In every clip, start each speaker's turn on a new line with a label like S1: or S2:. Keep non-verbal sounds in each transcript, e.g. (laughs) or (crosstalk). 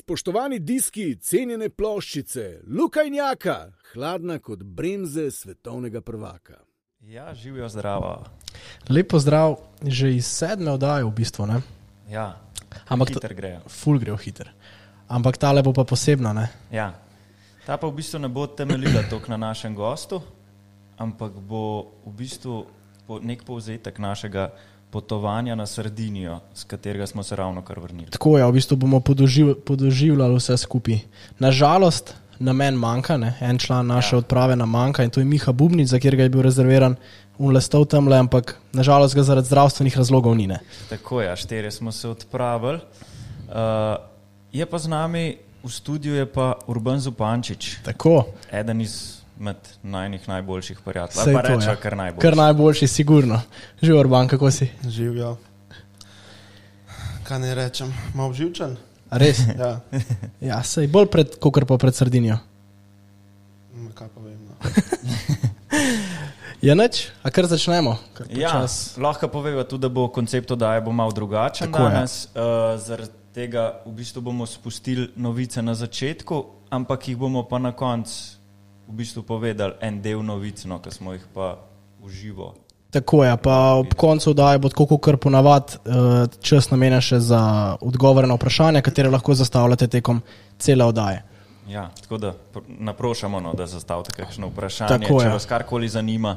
S1: Spoštovani diski, cenjene ploščice, lukajnjaka, hladna kot bremze svetovnega prvaka.
S2: Ja, živijo zdravo.
S3: Lepo zdrav, že iz sedme oddaje v bistvu. Ne?
S2: Ja,
S3: Ampak
S2: hiter grejo.
S3: Ful grejo hiter. Ampak ta lepo pa posebna. Ne?
S2: Ja. Ta pa v bistvu ne bo temeljila toliko na našem gostu, ampak bo v bistvu po- nek povzetek našega potovanja na Sardinijo, z katerega smo se ravno kar vrnili.
S3: Tako je, v bistvu bomo podoživ, podoživljali vse skupaj. Nažalost, namen manjka, ne? en član naše ja. odprave nam manjka in to je Miha Bubnic, za katerega je bil rezerviran unlestov tamle, ampak nažalost ga zaradi zdravstvenih razlogov ni. Ne?
S2: Tako je, štirje smo se odpravili. Uh, je pa z nami v studiu je pa Urban Zupančič,
S3: Tako.
S2: eden izmed najnih najboljših
S3: saj
S2: prijateljev. Pa
S3: to,
S2: rečemo,
S3: ja.
S2: kar najbolj.
S3: Kar najboljši, sigurno. Že Orban, kako si?
S4: Živijo. ja. Kaj naj rečem, malo
S3: (laughs)
S4: živčen?
S3: A Res.
S2: (laughs)
S4: Ja,
S3: Ja, sej bolj pred, kot pa pred Sardinijo.
S4: Ma, kaj pa vem. No.
S3: Je noč, a kar začnemo. Kar
S2: Ja, lahko poveva tudi, da bo koncept oddaje bo malo drugačen
S3: Tako, ja.
S2: Tako, danes. Uh, zaradi tega v bistvu bomo spustili novice na začetku, ampak jih bomo pa na koncu v bistvu povedali en del novic, no, ki smo jih pa uživo.
S3: Tako je, pa ob koncu daje bo tako, kot ponavadi, eh, čas namenjen še za odgovore na vprašanja, katere lahko zastavljate tekom cele oddaje.
S2: Ja, tako da pr- naprošamo, no, da zastavite kakšno vprašanje,
S3: Tako,
S2: Tako, če
S3: ja.
S2: ja. vas karkoli zanima.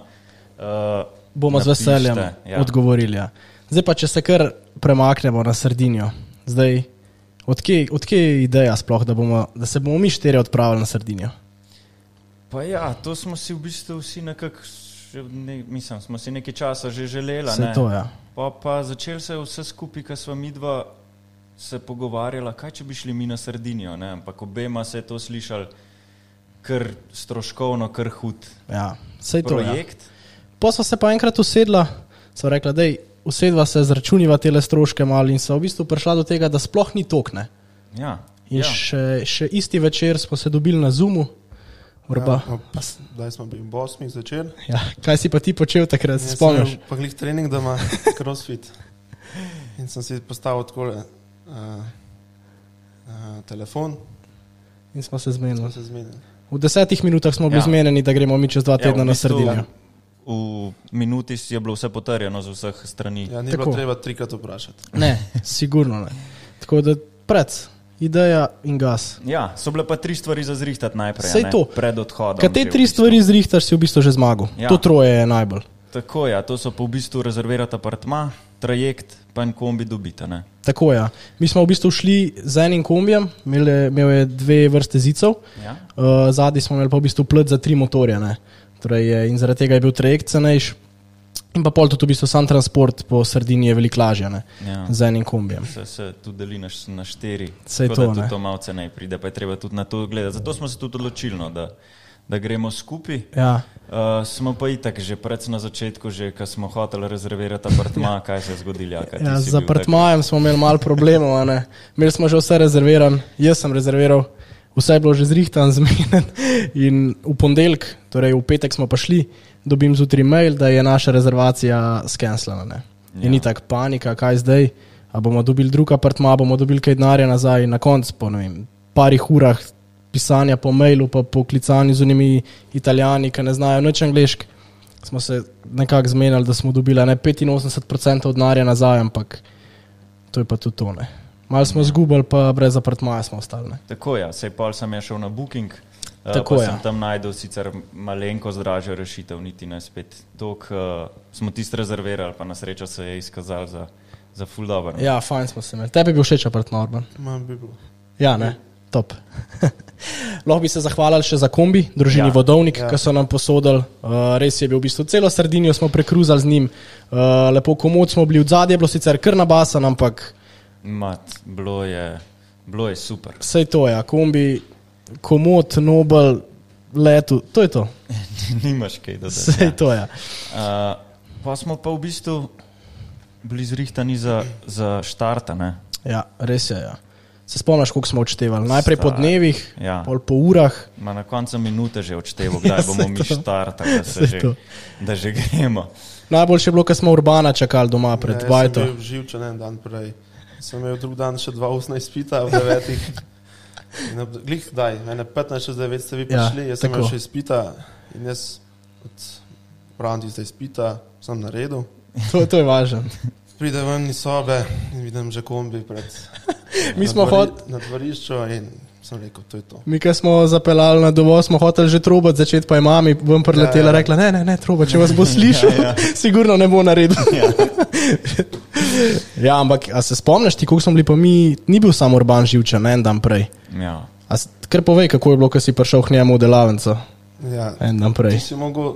S2: Uh,
S3: Bomo z
S2: napišite,
S3: veseljem ja. odgovorili. Ja. Zdaj pa, če se kar premaknemo na Sardinijo. Zdaj, odkje, odkje je ideja sploh, da, bomo, da se bomo mi štirje odpravili na Sardinijo?
S2: Pa ja, to smo si v bistvu vsi nekako, že ne, mislim, smo si nekaj časa že želeli.
S3: Vse to je. Ja.
S2: Pa, pa začel se je vse skupaj, ko smo mi dva se pogovarjala, kaj če bi šli mi na Sardinijo, ne? ampak obema se je to slišal, ker stroškovno, ker hud
S3: Ja, saj to je.
S2: projekt.
S3: Pa sva se pa enkrat usedla, sva rekla, da usedva se, zračuniva te stroške malo in sva v bistvu prišla do tega, da sploh ni tokne.
S2: Ja,
S3: In
S2: ja.
S3: ja. še, še isti večer smo se dobili na Zumu. Urba,
S4: Ja, ob- Zdaj smo bili ob 8 zvečer.
S3: ja, kaj si pa ti počel takrat, se
S4: Jaz
S3: spomniš?
S4: Ja, sem imel Pa glih trening, da ima (laughs) crossfit. In sem si postavil tako uh, uh, telefon,
S3: In smo se
S4: da
S3: zmenili.
S4: se zmenim.
S3: V desetih minutah smo bili
S2: Ja.
S3: ja. zmenjeni, da gremo mi čez dva
S2: Ja,
S3: tedna
S2: v
S3: ja, na
S2: bistvu-
S3: Sardinijo.
S2: V minuti si je bilo vse potrjeno z vseh strani. Ja.
S4: Ja, ni
S3: Tako.
S4: bilo treba trikrat vprašati.
S3: Ne, sigurno ne. Tako da pred, ideja in gas.
S2: ja, so bile pa tri stvari za zrihtati najprej. a
S3: Sej
S2: ne,
S3: to.
S2: Pred odhodom.
S3: Kaj te
S2: že v
S3: tri
S2: bistvu.
S3: stvari zrihtaš, si v bistvu že zmagal.
S2: Ja.
S3: Ja. To troje je najbolj.
S2: Tako je, ja, to so pa v bistvu rezervirati apartma, trajekt, pa en kombi dobita. Ne?
S3: Tako je. Ja. Mi smo v bistvu šli z enim kombijem, imel je, imel je dve vrste zicev.
S2: Ja?
S3: Uh, zadnji smo imeli pa v bistvu plet za tri motorje. ne. Torej, je- in zaradi tega je bil trajekt cenejši. In pa pol tudi v bistvu sam transport po sredini je veliko lažje ne,
S2: Ja.
S3: z enim kombijem.
S2: se, se tudi deli na, š- na štiri.
S3: Saj
S2: Tako da
S3: to,
S2: tudi
S3: ne.
S2: to malce ne pride, pa je treba tudi na to gledati. Zato smo se tudi odločili, no, da, da gremo skupaj.
S3: Ja.
S2: Uh, smo pa itak že pred na začetku, že ko smo hoteli rezervirati apartma, ja. kaj se je zgodilo. Jaka, ti
S3: Ja,
S2: si
S3: z
S2: bil tak-
S3: apartmajem smo imeli malo problemov, a ne. imeli smo že vse rezervirano, jaz sem rezerviral, vse je bilo že zrihtan, (laughs) zmeden. In v ponedeljek, torej v petek smo pa šli, dobim zjutraj mail, da je naša rezervacija skenslana. Ja.
S2: Ja.
S3: In ni tako panika, kaj zdaj, a bomo dobili drug apartma, bomo dobili kaj denarja nazaj in na koncu po ne vem, parih urah pisanja po mailu, pa po klicanju z unimi italijani, ki ne znajo nič angliškega smo se nekako zmenili, da smo dobili ne 85% denarja nazaj, ampak to je pa tudi tone. Malo smo izgubili, pa brez apartmaja smo ostali. Ne?
S2: Tako je, ja, sej pol sem ja šel na Booking. eh,
S3: Tako,
S2: pa
S3: ja.
S2: sem tam najdel sicer malenko zdražjo rešitev, niti ne spet tok. Uh, smo tisti rezervirali, pa na srečo se je izkazal za, za full dobro. no.
S3: Ja, fajn smo se imeli. Tebi je bil všeč apartma, Orban.
S4: Ma, bi bilo.
S3: Ja, ne, top. (laughs) Lahko bi se zahvalili še za kombi, družini
S2: Ja.
S3: ja, Vodovnik,
S4: Ja.
S3: ja. ki so nam posodili. Uh, res je bil v bistvu celo Sardinijo, smo prekruzali z njim, uh, lepo komod smo bili v zadnje, bilo sicer kar nabasan, ampak
S2: Mat, bilo je, bilo je super. (laughs)
S3: vse to je, ja. kombi, komod, nobel, letu, to je to.
S2: Nimaš kaj dodati.
S3: Vse
S2: ja.
S3: je to je. Ja.
S2: Uh, pa smo pa v bistvu bili zrihtani za, za štart.
S3: Ja, res je. Ja. Se spomniš, koliko smo odštevali? Najprej po
S2: Stari,
S3: dnevih,
S2: ja.
S3: ja. pol po urah.
S2: Na koncu minute že odštevo,
S3: (laughs)
S2: kdaj ja, bomo mi štartali, da, se
S3: Saj
S2: že,
S3: to.
S2: da že gremo.
S3: Najboljše je bilo, ko smo urbana čakali doma pred
S4: ja,
S3: Bajto.
S4: Jaz sem bil živčen en dan prej. Sem imel drug dan še dva ustna izpita, v devetih. In ob- Glih daj, ene 15 čez 9 ste vi
S3: Ja,
S4: prišli, ja, jaz sem
S3: tako.
S4: imel še izpita in jaz od pravnega tistega izpita sem naredil.
S3: To, to je važno.
S4: Pride ven iz sobe in vidim že kombi pred.
S3: (laughs) Mi
S4: na
S3: smo
S4: dvori-
S3: hot-
S4: Na dvorišču in sem rekel, to je to.
S3: Mi, ki smo zapeljali na dovoz, smo hoteli že trobot začeti, pa je mami ven preletela in
S4: Ja, ja.
S3: rekla: Ne, ne, ne, trobot, če vas bo slišal, ja, ja. (laughs) sigurno ne bo naredil. Ja, (laughs) ja ampak a se spomniš, ti, koliko smo bili pa mi, ni bil samo Urban živčen en dan prej.
S2: Ja.
S3: A s- Kar povej, kako je bilo, ko si prišel k njemu v delavnico
S4: Ja,
S3: en dan
S4: ti
S3: prej.
S4: si mogel,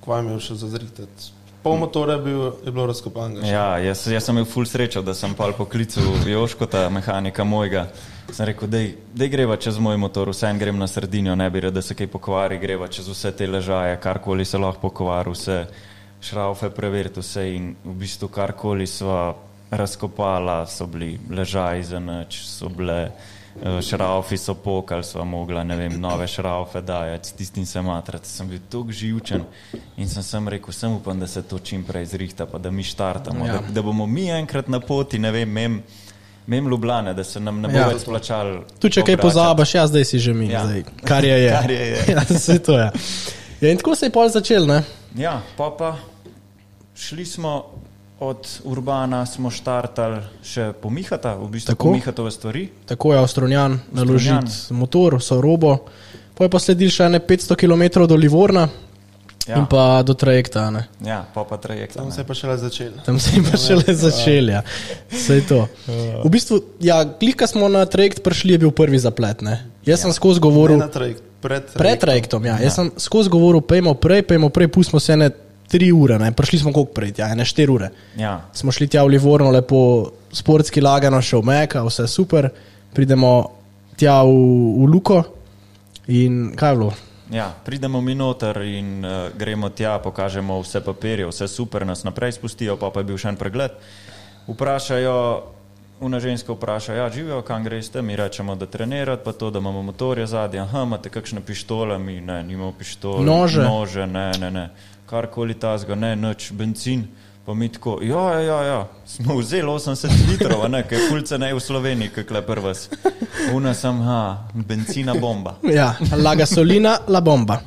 S4: kva imel še zazritati. Pol motora je, bil, je bilo razkopanega. še.
S2: Ja, jaz, jaz sem imel ful srečo, da sem pol poklical Joškota, mehanika mojega. Sem rekel, da greva čez moj motor, vse en grem na sredino, ne bi rad, da se kaj pokvari, greva čez vse te ležaje, karkoli se lahko pokvari, vse šraufe preveriti, vse in v bistvu karkoli sva razkopala, so bili ležaji za noč, so bile eh, šraufi, so pokali, sva mogla, ne vem, nove šraufe dajati, s tistim se matrati. Sem bil tako živčen in sem, sem rekel, sem upam, da se to čim prej zrihta, pa da mi štartamo, ja. da, da bomo mi enkrat na poti, ne vem, mem, mem Ljubljana, da se nam ne bo
S3: Ja.
S2: ja. več plačal.
S3: Tu, če kaj pozabiš, ja, zdaj si že mi, ja.
S2: Ja.
S3: zdaj, kar je. je.
S2: Kar je, je.
S3: (laughs) ja, vse to je. Ja, in tako se je pol začel, ne?
S2: Ja, pa pa šli smo od Urbana, smo štartali še pomihata, v bistvu
S3: Tako.
S2: pomihatove stvari.
S3: tako je avstronjan
S2: Avstronjan.
S3: naložiti motor, vso robo. Poje pa sledil še ne 500 km do Livorna ja. in
S2: Ja,
S3: pa do trajekta. Ne.
S2: ja pa pa trajekt.
S4: Tam se je pa šele začelo.
S3: Tam se je pa šele začel, ja. Vse je to. V bistvu, Ja. ja, klika smo na trajekt prišli, je bil prvi zaplet. Ne. Jaz ja. sem skozi
S4: Ne
S3: govoril,
S4: na trajekt, pred
S3: pred
S4: trajektom.
S3: trajektom, ja. jaz sem skozi govoril, pejmo prej, pejmo prej, pustimo se ne 3 ure, ne. prišli smo koliko prej, ja, ne 4 ure.
S2: Ja,
S3: Smo šli tja v Livorno, lepo sportski lagano, še v Meka, vse super. Pridemo tja v, v Luko in kaj je bilo?
S2: ja, pridemo mi noter in uh, gremo tja, pokažemo vse papirje, vse super, nas naprej spustijo, pa pa je bil še en pregled. Vprašajo, una ženska vpraša, ja, živijo, kam greste, mi rečemo, da trenirate, pa to, da imamo motorje zadnje, aha, imate kakšne pištole, mi ne, nimamo pištole,
S3: Nože.
S2: nože ne, ne, ne, karkoli tazga, ne, noč, benzin. Pa mi tako, ja, ja, ja, ja. smo vzeli 80 litrov, a ne, kaj kulce ne v Sloveniji, kaj le prvas. Una sem, ha, benzina bomba.
S3: Ja, la gasolina, la bomba.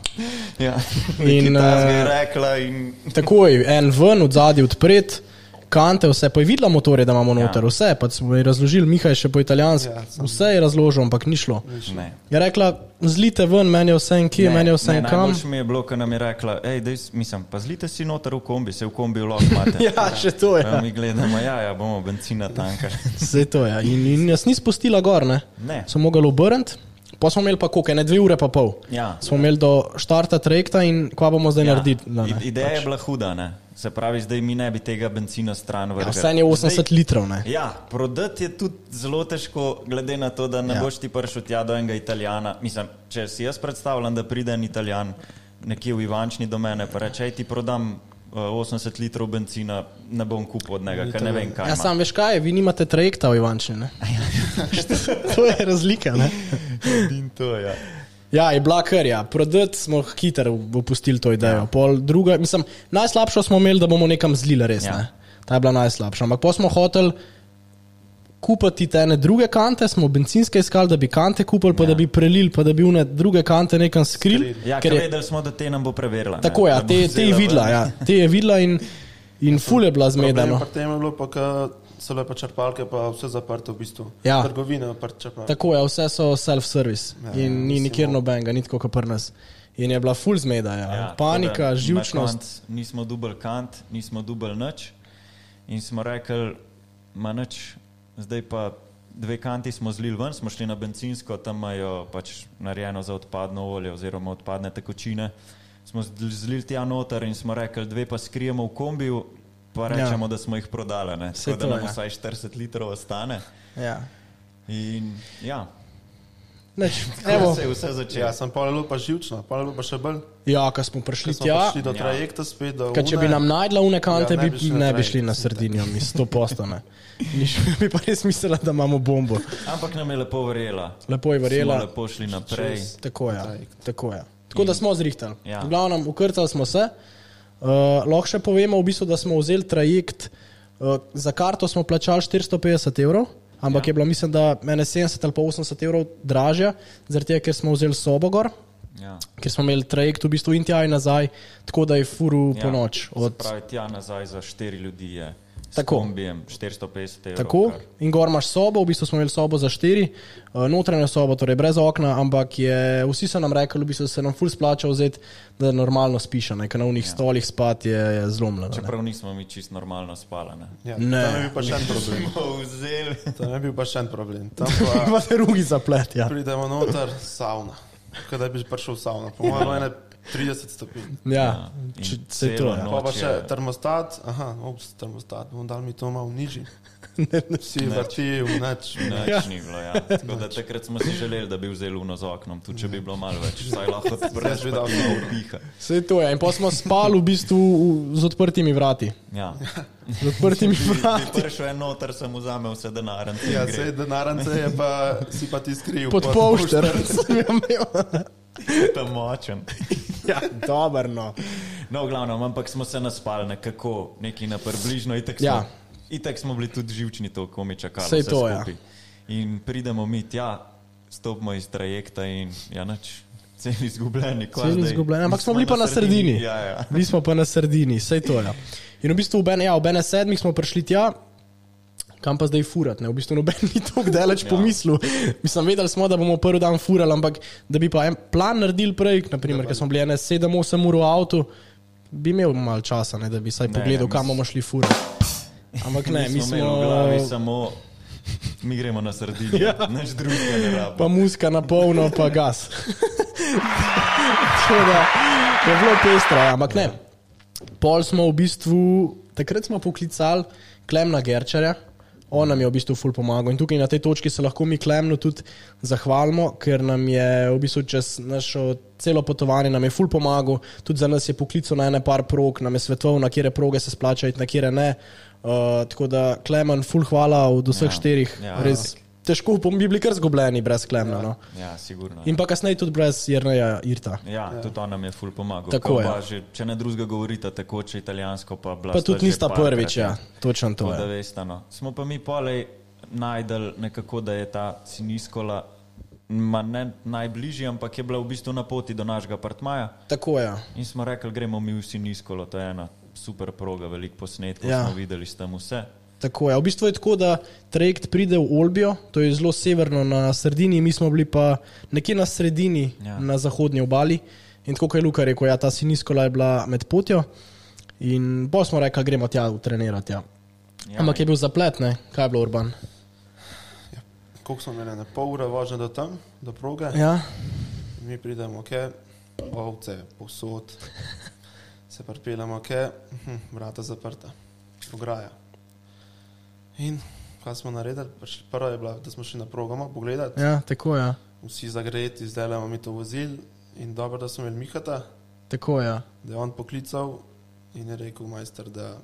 S2: Ja.
S3: In,
S2: In tako je
S3: eh,
S2: rekla. In...
S3: Takoj, en ven, od zadaj odpret, kante, vse pa je videla motorje, da imamo noter, vse pa smo ji razložili, Mihaj še po italijansko,
S4: Ja, sem-
S3: vse je razložil, ampak ni šlo.
S2: Ne.
S3: Je rekla, zlite ven, meni je vse en kje, meni je vse
S2: ne,
S3: en kam.
S2: najboljše mi je bilo, ko nam je rekla, hej, dej, mislim, pa zlite si noter v kombi, se v kombi lahko imate.
S3: (laughs) Ja, še to je.
S2: Pa Mi gledamo, ja, ja, bomo benzina tanka. (laughs)
S3: Vse to je. In, in jaz nisem spustila gor, ne.
S2: Ne.
S3: Sem mogel obrniti, pa smo imeli pa koliko, ne dve ure pa pol.
S2: Ja.
S3: Smo imeli do štarta trajekta in kva bomo zdaj ja.
S2: Ja.
S3: naredili. Ne,
S2: I-
S3: ne. Pač,
S2: Ideja je bila huda, ne? se pravi, zdaj mi ne bi tega benzina stran
S3: Ja,
S2: vrgli.
S3: vse je 80
S2: Zdaj-
S3: litrov, ne.
S2: Ja, prodati je tudi zelo težko, glede na to, da ne
S3: Ja.
S2: ja. boš ti prišel tja do enega Italijana. Mislim, če si jaz predstavljam, da pride en Italijan nekje v Ivančni do mene in reče: "Ej, ti prodam eh, 80 litrov benzina, ne bom kupil od njega, ker ne vem kaj.
S3: Ja,
S2: ima."
S3: sam veš kaj, je, vi nimate trajekta v
S2: (laughs)
S3: Ivančine. to je razlika, ne.
S2: In to, ja.
S3: Ja, je bila kar, ja. prodati smo hitro opustili to idejo. Ja. Pol druga, mislim, najslabšo smo imeli, da bomo nekam zlili, res. Ja.
S2: Ja.
S3: Ne? Ta je bila najslabša. Ampak pa smo hoteli kupiti te ene druge kante, smo benzinske iskali, da bi kante kupili, pa ja. da bi prelili, pa da bi une druge kante nekam skrili.
S2: Ja, ker vedeli smo, da te nam bo preverila. ne,
S3: tako, ja,
S2: da bo
S3: te, te je
S2: vzela
S3: videla,
S2: ven.
S3: ja. te je videla in, in ful je bila
S4: Problem
S3: zmedena. no.
S4: pri tem je bilo pa, ko so bile pa črpalke, pa vse zaprto v bistvu.
S3: Ja.
S4: Trgovine pa črpalke.
S3: Tako je, vse so self-service
S4: Ja,
S3: ja, in ni
S4: mislim,
S3: nikjer
S4: no.
S3: nobenega, ni tako kot pri nas. In je bila ful zmeda, ja.
S2: Ja,
S3: Ja,
S2: tako da
S3: panika,
S2: na
S3: živčnost.
S2: koncu Nismo dubl kant, nismo dubl nič. In smo rekli, ma nič, zdaj pa dve kanti smo zlili ven, smo šli na benzinsko, tam imajo pač narejeno za odpadno olje oziroma odpadne tekočine. Smo zdl- zlili tja noter in smo rekli, dve pa skrijemo v kombiju, pa rečemo, ja. da smo jih prodali. ne.
S3: Saj
S2: Tako da
S3: to,
S2: nam
S3: ja.
S2: vsaj 40 litrov ostane.
S3: Ja.
S2: In ja,
S3: Neč,
S2: tako
S3: evo.
S2: se je vse začelo.
S4: Ja, sem pa bilo pa živčno, pa bilo pa še bolj.
S3: Ja, ko smo prišli
S4: Ker smo
S3: tja,
S4: prišli
S2: Ja.
S4: do trajekta spet, do
S3: ker če bi
S4: Une.
S3: nam najdla unekante,
S4: Ja,
S3: ja, ne,
S4: ne bi šli
S3: bi,
S4: na
S3: ne bi
S4: trajekt,
S3: šli na sredinjo, mi sto postane. (laughs) Bi pa res mislila, da imamo bombo.
S2: Ampak nam je lepo verjela.
S3: Lepo je verjela.
S2: Smo lepo šli naprej.
S4: Čez-
S3: Tako je. Tako, je. tako da smo zrihtali.
S2: Ja.
S3: V glavnem, ukrcali smo se. Uh, lahko še eh, povemo, v bistvu, da smo vzeli trajekt, uh, za karto smo plačali 450 evrov, ampak ja. je bila, mislim, da mene 70 ali pa 80 evrov dražja, zaradi tega, ker smo vzeli sobo gor,
S2: Ja.
S3: ker smo imeli trajekt v bistvu in tja in nazaj, tako da je furu ja. po noč.
S2: Od...
S3: Od,
S2: Pravi, tja nazaj za 4 ljudi je. S
S3: Tako.
S2: Kombijem 450 evrov.
S3: Tako,
S2: kar.
S3: in gor imaš sobo, v bistvu smo imeli sobo za štiri, eh, notranjo sobo, torej brez okna, ampak je, vsi so nam rekli, v bistvu se nam ful splača vzeti, da normalno spiš, a ne, ker na unih ja. stolih spati je, je zlomljeno. ne.
S2: Čeprav nismo mi čist normalno spali. Ne?
S4: Ja,
S3: Ne.
S4: ne. Tam je bil pa še en problem.
S2: Smo vzeli.
S4: Tam je bil pa še en problem. Tam pa
S3: (laughs) (laughs) Pa se rugi zaplet, ja.
S4: pridemo noter, savna. Kaj bi že prišel v savno? Po mojem, ene 30 stopinj.
S3: ja.
S2: in
S3: če- Se je to,
S2: celo
S3: ja.
S4: Pa, pa
S2: Noč
S4: še
S2: je-
S4: termostat, aha, ops, termostat, bom dal mi to malo nižji.
S3: (laughs) ne.
S4: Vsi vrti, vnač.
S2: Nič
S3: Ja.
S2: ja. ni bilo. Ja. Tako da takrat smo si želeli, da bi vzel luno z oknom, tudi če bi bilo malo več. Saj lahko odpreš,
S4: Zdaj že
S2: da
S4: dal
S2: ti
S4: luno.
S2: ne piha.
S3: Se je to, ja. In pa smo spali v bistvu v- z odprtimi vrati.
S2: Ja.
S3: Z odprtimi vrati.
S2: Ti prišel en noter, sem vzamel vse denar. in sem
S4: Ja,
S2: gre.
S4: sej denarance je pa, si pa ti skril.
S3: Pod
S4: pod
S3: polšter
S4: pošter.
S3: sem jo imel.
S2: tam močen.
S3: Ja, (laughs) dobro. No.
S2: No, v glavnem, ampak smo se naspali nekako, neki na približno, itek smo,
S3: Ja.
S2: ja. itek smo bili tudi živčni, to komi čakali.
S3: Saj
S2: vse
S3: to, ja.
S2: skupaj. In pridemo mi tja, stopimo iz trajekta in ja, nič. Celi izgubljeni, kot
S3: Celi izgubljeni, ampak smo bili pa na sredini.
S2: Ja, ja.
S3: Mi smo pa na sredini, vse to je. Ja. In v bistvu ob ene, ja, ob ene sedmih smo prišli tja. Kam pa zdaj furat? Ne? V bistvu noben ni tako daleč ja. pomislil. Mislim, vedeli smo, da bomo prvi dan furali, ampak da bi pa en plan naredili prej,
S2: Ja,
S3: naprimer, ker smo bili 7-8 ur v avtu, bi imel malo časa, ne, da bi saj
S2: Ne,
S3: pogledal,
S2: ne,
S3: kam bomo šli furati. Ampak ne, mi smo,
S2: imeli v glavi samo, mi gremo na sredini, ja. nič drugega ne
S3: pa
S2: rabimo.
S3: muska na polno, pa gas. (laughs) Tako da je bilo pestro, ja, ampak ne. Pol smo v bistvu, takrat smo poklicali Klemna Gerčarja, on nam je v bistvu ful pomagal in tukaj na tej točki se lahko mi Klemnu tudi zahvalimo, ker nam je v bistvu čez našo celo potovanje nam je ful pomagal, tudi za nas je poklical na ene par prog, nam je svetoval, na kire proge se splača iti, na kire ne. Uh, tako da Klemen, ful hvala od vseh ja,
S2: Ja,
S3: štirih, ja,
S2: ja,
S3: res. Težko bom- bi bili kar zgubljeni brez Klemna. Ja. No.
S2: Ja, sigurno.
S3: In pa kasneje tudi brez Jrneja Irta.
S2: Ja, ja, tudi on nam je ful pomagal.
S3: Tako
S2: Kaj pa
S3: je.
S2: Že, če ne drugega govorite, tako če italijansko, pa blago.
S3: Pa tudi nista prvič, ja, točno to
S2: Tako da
S3: je.
S2: veste, no. Smo pa mi polej najdel nekako, da je ta siniskola ma ne najbližji, ampak je bila v bistvu na poti do našega apartmaja
S3: Tako ja. je.
S2: in smo rekli, gremo mi v siniskolo, to je ena super proga, veliko posnetkov
S3: Ja.
S2: ja. smo videli s tem vse. Ja.
S3: Tako je. V bistvu je tako, da trajekt pride v Olbijo, to je zelo severno na sredini, mi smo bili pa nekje na sredini, ja.
S2: Ja.
S3: na zahodnji obali. In tako kot je Luka rekel, ja, ta siniskola je bila med potjo. In bolj smo rekli, gremo tja trenirati. Ja. Ja,
S2: Ja,
S3: Ampak je bil zaplet, ne? kaj je bilo urban.
S4: Koliko smo imeli, ne pol ure vožnje do tam, do proge?
S3: Ja,
S4: Mi pridemo, ok, ovce, povsod, se pripeljemo, ok, hm, vrata zaprta, ograja. In kaj smo naredili? Prišli- Prvo je bilo, da smo šli na progama pogledati,
S3: ja tako je. Ja.
S4: vsi zagreti, zdaj imamo mi to vozil in dobro, da smo imeli Mihata,
S3: Tako je. Ja.
S4: da je on poklical in je rekel, majster, da,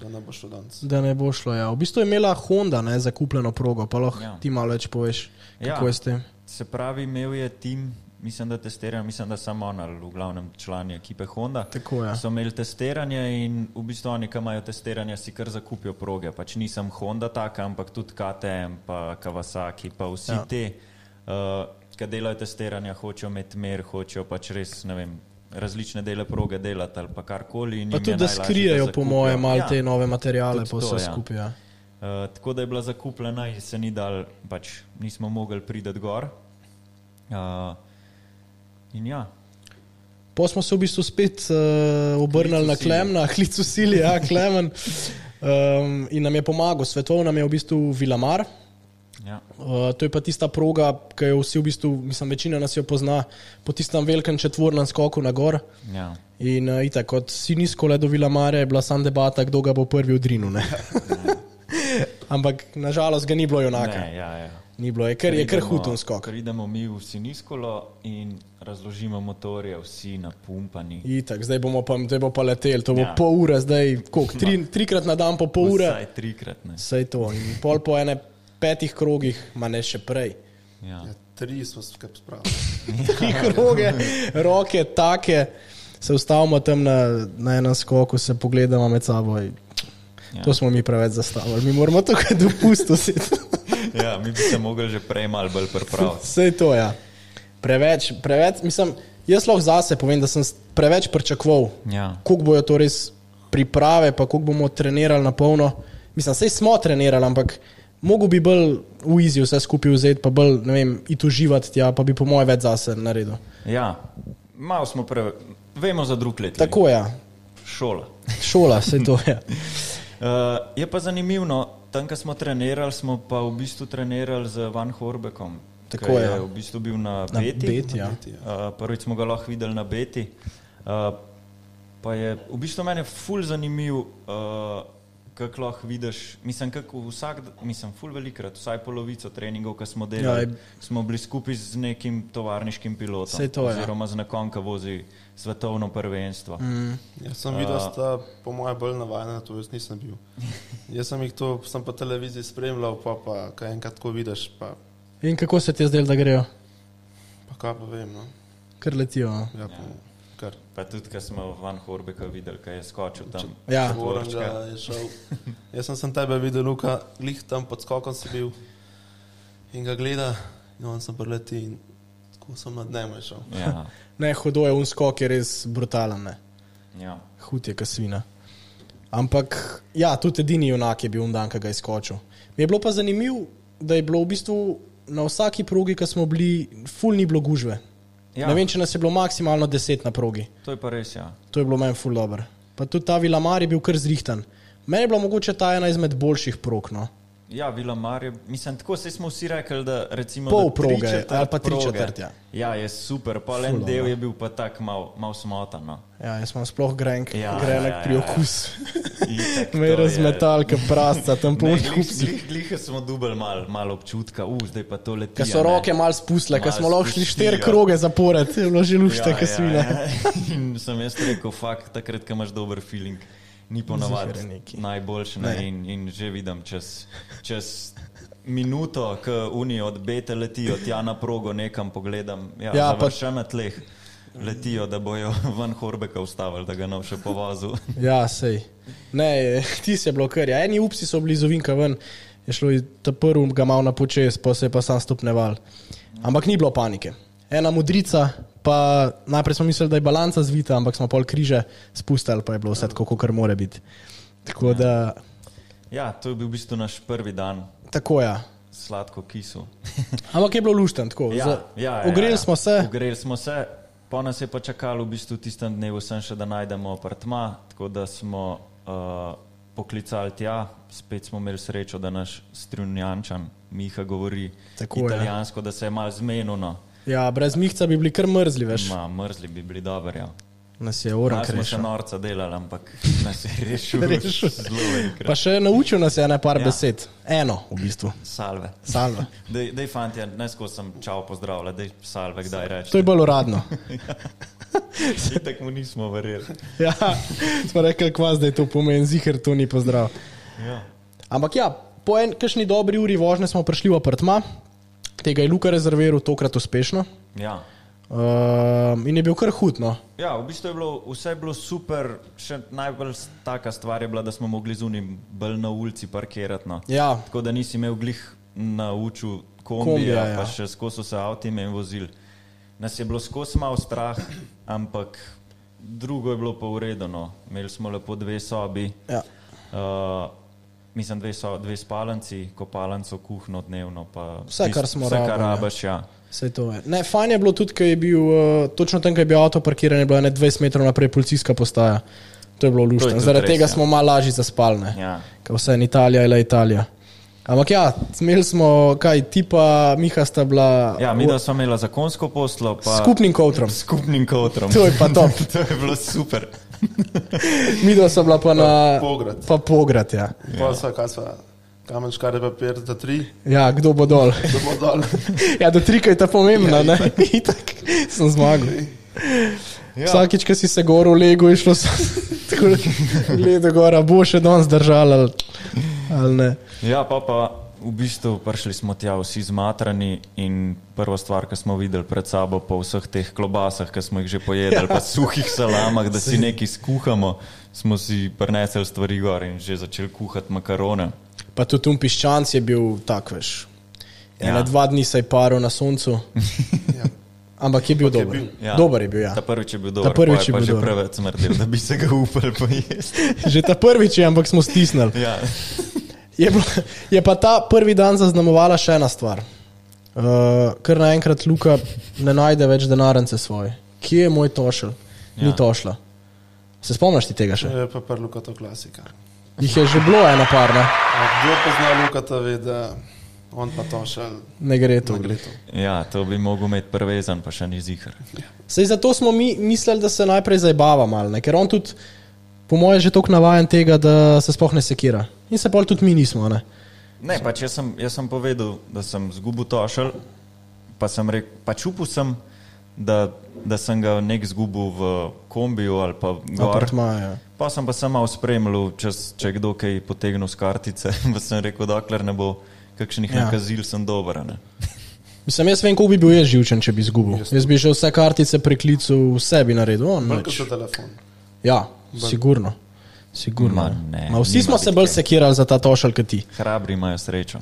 S4: da ne bo šlo danes.
S3: Da ne bo šlo. Ja. V bistvu je imela Honda ne, zakupljeno progo, pa lahko ja.
S2: Ja.
S3: ti malo več poveš,
S2: Ja.
S3: kako ja. je s tem.
S2: Se pravi, imel je tim, mislim, da testiran, mislim, da samo on ali v glavnem član je ekipe Honda.
S3: Tako je. Ja.
S2: So imeli testiranje in v bistvu oni, ki imajo testiranje, si kar zakupijo proge. Pač nisem Honda taka, ampak tudi KTM, pa Kawasaki, pa vsi
S3: Ja.
S2: ja. te, uh, ki delajo testiranja, hočejo imeti mer, hočejo pač res, ne vem, različne dele proge delati ali pa karkoli. in
S3: Pa
S2: jim je
S3: tudi, da
S2: najlažje,
S3: skrijejo, po
S2: zakupijo.
S3: mojem, malo ja.
S2: Ja.
S3: te nove materijale,
S2: Tudi
S3: pa vse
S2: to,
S3: ja.
S2: ja.
S3: skupaj. Ja.
S2: Uh, tako da je bila zakupljena in se ni dal, pač nismo mogli priti gor. Uh, in ja,
S3: Po smo se v bistvu spet uh, obrnili
S2: Klicu
S3: na
S2: sili.
S3: Klemna, klicu sili, (laughs) ja, Klemen. Um, in nam je pomagal, svetoval nam je v bistvu Vilamar.
S2: ja.
S3: Uh, to je pa tista proga, ki jo vsi v bistvu, mislim, večina nas jo pozna po tistem velikem četvornem skoku na gor.
S2: ja.
S3: In uh, tako, kot si nizko le do Vilamare, je bila sam debata, kdo ga bo prvi odrinil. (laughs) ne. Ampak nažalost ga ni bilo enako.
S2: Ne, ja, ja.
S3: Ni bilo, je kar, je no. kar
S2: Pridemo-
S3: hutun skok.
S2: Pridemo mi v Siniskolo in razložimo motorje, vsi napumpani.
S3: Itak, zdaj bomo pa, zdaj bo pa letel, to bo ja.
S2: Ja.
S3: pol ure, zdaj koliko, tri, trikrat na dan po pol ure.
S2: Vsaj trikrat. Ne.
S3: Vse to. In pol po ene petih krogih, manj še prej.
S2: Ja.
S4: Ja, tri smo skupaj spravili.
S3: Tri kroge, roke take, se ustavimo tam na, na enem skoku, se pogledamo med sabo. in
S2: Ja.
S3: To smo mi preveč zastavili, mi moramo tukaj dopustiti.
S2: Ja, mi bi se mogli že prej malo bolj
S3: (laughs)
S2: pripraviti.
S3: Vse to je. Ja. Preveč, preveč, mislim, jaz lahko zase povem, da sem s- preveč pričakoval,
S2: Ja.
S3: koliko bojo to res priprave, pa koliko bomo trenirali na polno. Mislim, sej smo trenirali, ampak mogo bi bolj v izi vse skupaj vzeti, pa bolj, ne vem, it uživati tja, pa bi po moje več zase naredil.
S2: Ja, malo smo preveč, vemo za drug let.
S3: Tako je, ja.
S2: Šola.
S3: šola, vse to ja. je.
S2: Uh, je pa zanimivo, no, tam, ko smo trenirali, smo pa v bistvu trenirali z Van Horbekom. ki
S3: Tako je. ja.
S2: je. V bistvu bil na,
S3: Na
S2: Beti.
S3: Beti, ja.
S2: Uh, prvič smo ga lahko videli na Beti. Uh, pa je v bistvu meni ful zanimiv, uh, kako lahko vidiš. Mislim, kako vsak, mislim, ful velikrat, vsaj polovico treningov, ki smo delali,
S3: je-
S2: ja, smo bili skupaj z nekim tovarniškim pilotom.
S3: Saj to je. ja.
S2: oziroma z nekom, ki vozi svetovno prvenstvo. Mm.
S4: Jaz Ja, sem videl, da sta po mojem bolj navajena na to, jaz nisem bil. Jaz sem jih to, sem po televiziji spremljal, pa pa kaj enkrat ko vidiš, pa,
S3: In kako se ti je zdelo, da grejo,
S4: pa kaj pa vem, no.
S3: ker letijo? no. a?
S4: Ja, pa, kar.
S2: Pa tudi, ko smo Van Horbeka videli, kaj je skočil tam.
S3: Ja,
S4: Oranga je šel. Jaz sem, sem tebe videl, Luka, glih tam pod skokom si bil in ga gleda, in on sem preleti in tako sem nad dnem šel.
S2: Ja,
S3: ne, hodo je unskok, je res brutalen. Ne.
S2: ja.
S3: Hud je kasvina. Ampak, ja, tudi edini junak je bil on dan, ki ga je skočil. Mi je bilo pa zanimivo, da je bilo v bistvu na vsaki progi, ki smo bili, ful ni bilo gužve. Ja.
S2: Ja.
S3: Ne vem, če nas je bilo maksimalno deset na progi.
S2: To je pa res, ja.
S3: To je bilo meni ful dobro. Pa tudi ta Vilamar je bil kar zrihtan. Meni je bila mogoče ta ena izmed boljših prog. No.
S2: Ja, Vilamar je, mislim, tako se smo vsi rekli, da recimo
S3: Pol
S2: da tri
S3: proge
S2: četrt
S3: ali pa tri
S2: proge.
S3: četrt, ja. no.
S2: Ja, je super, pa le en
S3: Ful,
S2: del
S3: ono.
S2: je bil pa tak mal, mal smotan.
S3: (laughs)
S2: No.
S3: Ja, jaz imam sploh grenek, ja,
S2: Ja, ja,
S3: grenek ja, ja,
S2: ja,
S3: pri
S2: ja.
S3: okus.
S2: (laughs) Itak,
S3: Me
S2: to
S3: je
S2: je-
S3: razmetal, ker prasta tam po
S2: Ne,
S3: okus.
S2: glih- Glih glih smo dubli malo mal občutka, uh, zdaj pa to leti.
S3: Ker so roke mal spustile, ker
S2: Malo
S3: smo lahko šli
S2: spustijo. Ja,
S3: štiri kroge zapored, je bilo že lušta, ker svina.
S2: (laughs) In sem jaz rekel, fakt, takrat, ko imaš dober feeling, ni
S3: Zihar
S2: ponavadi
S3: neki.
S2: najboljši. Ne? In, in že vidim, čez, čez minuto, ko unijo od bete letijo tja na progo, nekam pogledam, ja,
S3: Ja,
S2: ja
S3: pa-
S2: pa še na tleh. Letijo, da bojo (laughs) ven Horbeka ustavili, da ga ne bo še povozil. (laughs)
S3: Ja, sej. Ne, (laughs) ti si blokar. Ja. Eni upsi so bili iz ovinka ven, je šlo iz ta prvi, ga mal na počes, pa se je pa sam stopneval. Ampak ni bilo panike. Ena modrica, pa najprej smo mislili, da je balanca zvita, ampak smo pol križe spustili, pa je bilo vse tako, kot mora biti. Tako da,
S2: Ja, to je bil v bistvu naš prvi dan,
S3: tako ja.
S2: sladko kisel.
S3: Ampak je bilo lušten, tako.
S2: Ja,
S3: za-
S2: ja, ja,
S3: Ogreli
S2: ja.
S3: smo se,
S2: Ogreli smo se, pa nas je pa čakalo v bistvu v tistem dnevu, sem še da najdemo apartma, tako da smo uh, poklicali tja, spet smo imeli srečo, da naš strunjančan Miha govori
S3: Tako je.
S2: italijansko, da se je mal zmenilo.
S3: ja, brez mihca bi bili kar mrzli, veš.
S2: Ma, mrzli bi bili dobri. Ja.
S3: Nas je oran
S2: Nas smo še
S3: krešil.
S2: norca delali, ampak nas je rešil
S3: (laughs) Rešil.
S2: zelo
S3: Pa
S2: enkrat.
S3: še naučil nas je na par ja.
S2: Ja.
S3: besed. Eno, v bistvu.
S2: Salve.
S3: Salve.
S2: Dej, dej fanti, ja, ne skozi sem čao pozdravljal, dej salve, kdaj
S3: To je
S2: rečeš.
S3: bolj uradno.
S2: Tako mu nismo verjeli.
S3: (laughs) Ja, smo rekli, kvas, da je to pomeni zihar, to ni pozdrav.
S2: Ja.
S3: Ampak ja, po en kakšni dobri uri vožnje smo prišli v apartma, tega je Luka rezerviral tokrat uspešno
S2: ja.
S3: um, in je bil kar hudno.
S2: Ja, v bistvu je bilo vse je bilo super, še najbolj s- taka stvar je bila, da smo mogli zunaj bolj na ulici parkirati. No.
S3: Ja,
S2: Tako da nisi imel glih na uču kombija,
S3: Kombija,
S2: kombija
S3: ja.
S2: ja. pa še skozi so se avti in vozil. Nas je bilo skozi malo strah, ampak drugo je bilo pa urejeno. Imeli smo lepo dve sobi,
S3: ja.
S2: uh, mislim dve, so, dve spalanci, kopalnico, kuhno dnevno. pa
S3: Vse, kar smo
S2: vse,
S3: rabili,
S2: kar
S3: ja.
S2: rabaš, ja.
S3: Vse to je. Ne, fajn je bilo tudi, ker je bil uh, točno tam, kjer je bil avto parkiran, je bila ne 20 metrov naprej policijska postaja. To je bilo luštno.
S2: tudi
S3: Zaradi
S2: res,
S3: tega
S2: ja.
S3: smo malo lažje zaspalne.
S2: Ja.
S3: Ker vse je Italija, je Italija. Ampak ja, imeli smo kaj, tipa Miha sta bila
S2: ja, mi
S3: v-
S2: da smo imeli zakonsko poslo.
S3: s
S2: pa-
S3: skupnim kotrom.
S2: Skupnim kotrom.
S3: To je pa top.
S2: (laughs) to je bilo
S3: (laughs)
S2: super.
S3: Mi dva sta bila pa na
S4: Pograd.
S3: Pa pograd ja.
S4: Pa sva, kaj sva, kamen, škare, papir, za tri,
S3: ja, kdo bo dol. (laughs)
S4: da bo dol.
S3: Ja, do trika je ta pomembna, ja, ne? (laughs) Itak sem zmagal. Ja. Vsakič, ko si se gor v lego, je šlo (laughs) tako, gleda gora, bo še danes držal ali, ali ne.
S2: Ja, pa, pa v bistvu prišli smo tja vsi zmatrani in prva stvar, ki smo videli pred sabo, po vseh teh klobasah, ki smo jih že pojedli, ja. pa suhih salamah, da si nekaj skuhamo, smo si prinesli stvari gor in že začeli kuhati makarone.
S3: Pa tudi tu piščanc je bil tak, veš, Ja. Ene, dva dni se je paril na soncu,
S4: Ja.
S3: ampak je bil
S4: Ampak je
S3: dober.
S4: bil.
S2: Ja.
S3: Dober je bil, ja.
S2: Ta prvič je bil dober,
S3: prvič
S2: prvič je
S3: je bil
S2: bil že
S3: dober.
S2: preveč smrdel, da bi se ga upal
S3: (laughs)
S2: pojesti.
S3: Že ta prvič je, ampak smo stisnili.
S2: Ja.
S3: Je, bilo, je pa ta prvi dan zaznamovala še ena stvar. Uh, ker naenkrat Luka ne najde več denarnice svoje. Kje je moj tošel? Ja. Ni
S2: Ja.
S3: tošla. Se spomniš ti tega še?
S4: Je pa prvo Lukato klasika.
S3: Jih je že bilo ena par, ne,
S4: A Kdo pozna Lukata, ve, da on pa to še
S3: ne gre to.
S4: gledo.
S2: ja, to bi mogel imeti prvezan, pa še ni zihar.
S3: Sej zato smo mi mislili, da se najprej zabava malo, ne? ker on tudi, po mojem, že tako navaden tega, da se sploh ne sekira. In se pol tudi mi nismo. Ne?
S2: Ne, pač jaz sem, jaz sem povedal, da sem zgubil tošel, pa sem rekel, pač upal sem, da, da sem ga nek zgubil v kombiju ali pa gor.
S3: Apartmaja.
S2: Pa sem pa samo spremljal, če, s- če je kdo kaj potegnil z kartice, (laughs) pa sem rekel, dokler ne bo kakšnih
S3: Ja.
S2: ja. nakazil, sem dober. a Ne?
S3: Mislim, jaz vem, koliko bi bil jaz živčen, če bi izgubil. Jaz, jaz bi že vse kartice preklical, vse bi naredil. On,
S4: Bolj
S3: nič.
S4: kot za telefon.
S3: Ja, sigurno. sigurno.
S2: Ma
S3: Ma,
S2: ne,
S3: Ma, vsi
S2: nima
S3: smo se
S2: bitke.
S3: bolj sekirali za ta tošal kot ti.
S2: Hrabri imajo srečo.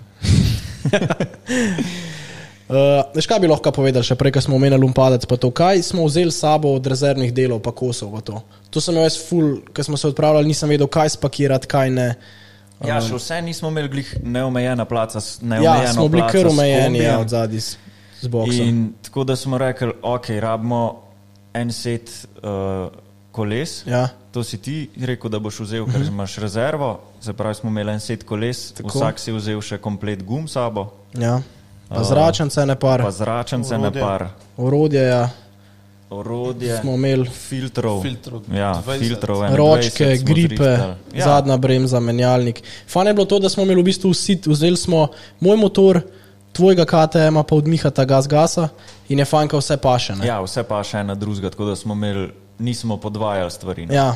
S3: Uh, veš, kaj bi lahko povedali, še prej, ko smo omenili umpadec, pa to, kaj smo vzeli s sabo od rezervnih delov, pa kosov v to. To sem imel jaz ful, ko smo se odpravljali, nisem vedel, kaj spakirati, kaj ne.
S2: Ja, še vse nismo imeli glih neomejena placa, s- neomejeno
S3: Ja, smo bili
S2: placa
S3: kar
S2: s
S3: omejeni ja,
S2: kombijem.
S3: od zadaj z, z boksom.
S2: In tako da smo rekli, ok, rabimo en set uh, koles.
S3: Ja. Mhm.
S2: To si ti rekel, da boš vzel, ker imaš rezervo. Se pravi, smo imeli en set koles, tako. vsak si je vzel še komplet gum s sabo,
S3: Ja. Pa zračence, ne par,
S2: pa zračence na
S4: Orodje.
S2: par,
S3: orodje, ja.
S2: orodje,
S3: smo imeli
S2: filtrov,
S4: Filtrov,
S2: ja,
S4: 20.
S2: filtrov 21
S3: ročke,
S2: smo
S3: gripe,
S2: zrihtali.
S3: ja. zadnja bremza, menjalnik. Fan je bilo to, da smo imeli v bistvu vsi, vzeli smo moj motor, tvojega KTM, pa odmihata gas gasa in je fanka vse pašene.
S2: Ja, vse pa še ena druga, tako da smo imeli, nismo podvajali stvari. ne.
S3: ja.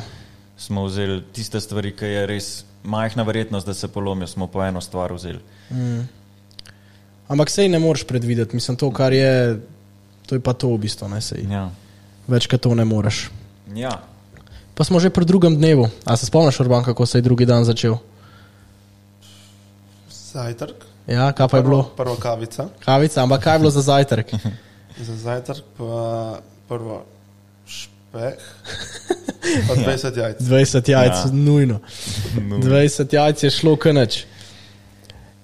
S2: smo vzeli tiste stvari, ki je res majhna verjetnost, da se polomijo, smo po eno stvar vzeli.
S3: Ampak sej ne moreš predvideti, mislim, to, kar je, to je pa to v bistvu, ne sej.
S2: Ja.
S3: Več kot to ne moreš.
S2: Ja.
S3: Pa smo že pri drugem dnevu. A se spomniš, Urban, kako se je drugi dan začel?
S4: Zajtrk.
S3: Ja, kaj pa je bilo?
S4: Prva kavica.
S3: Kavica, ampak kaj je bilo za (laughs) zajtrk?
S4: Za zajtrk pa prvo špeh. Pa
S3: Ja.
S4: 20 jajc.
S3: 20 jajc, ja.
S2: Ja.
S3: (laughs) nujno. 20 jajc je šlo kanač.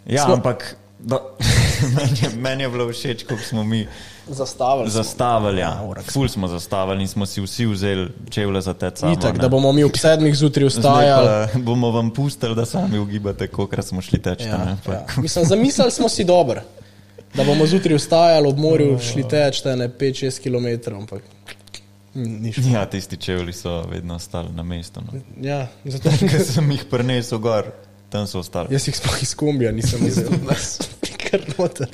S2: Ja,
S3: Smo-
S2: smo... ampak do... (laughs) meni, je, meni je bilo všeč, kako smo mi
S3: Zastavili.
S2: zastavili. Ja.
S3: Aurak smo.
S2: Ful smo zastavili in smo si vsi vzeli čevlje za te cene.
S3: Itak, da bomo mi ob sedmih zjutraj vstajali.
S2: Bomo vam pustili, da sami ugibate, koliko smo šli teč.
S3: Ja, ja. Mislim, zamislili smo si dobro, da bomo zjutraj vstajali ob morju, šli teč te ne 5-6 km. Ampak... Hm, ni šlo.
S2: ja, tisti čevlji so vedno ostali na mestu. No. (laughs)
S3: Ja, zato,
S2: Ker sem jih prenesel gor, tam so ostali.
S3: jaz jih sploh iz kombija nisem videl. Kar noter.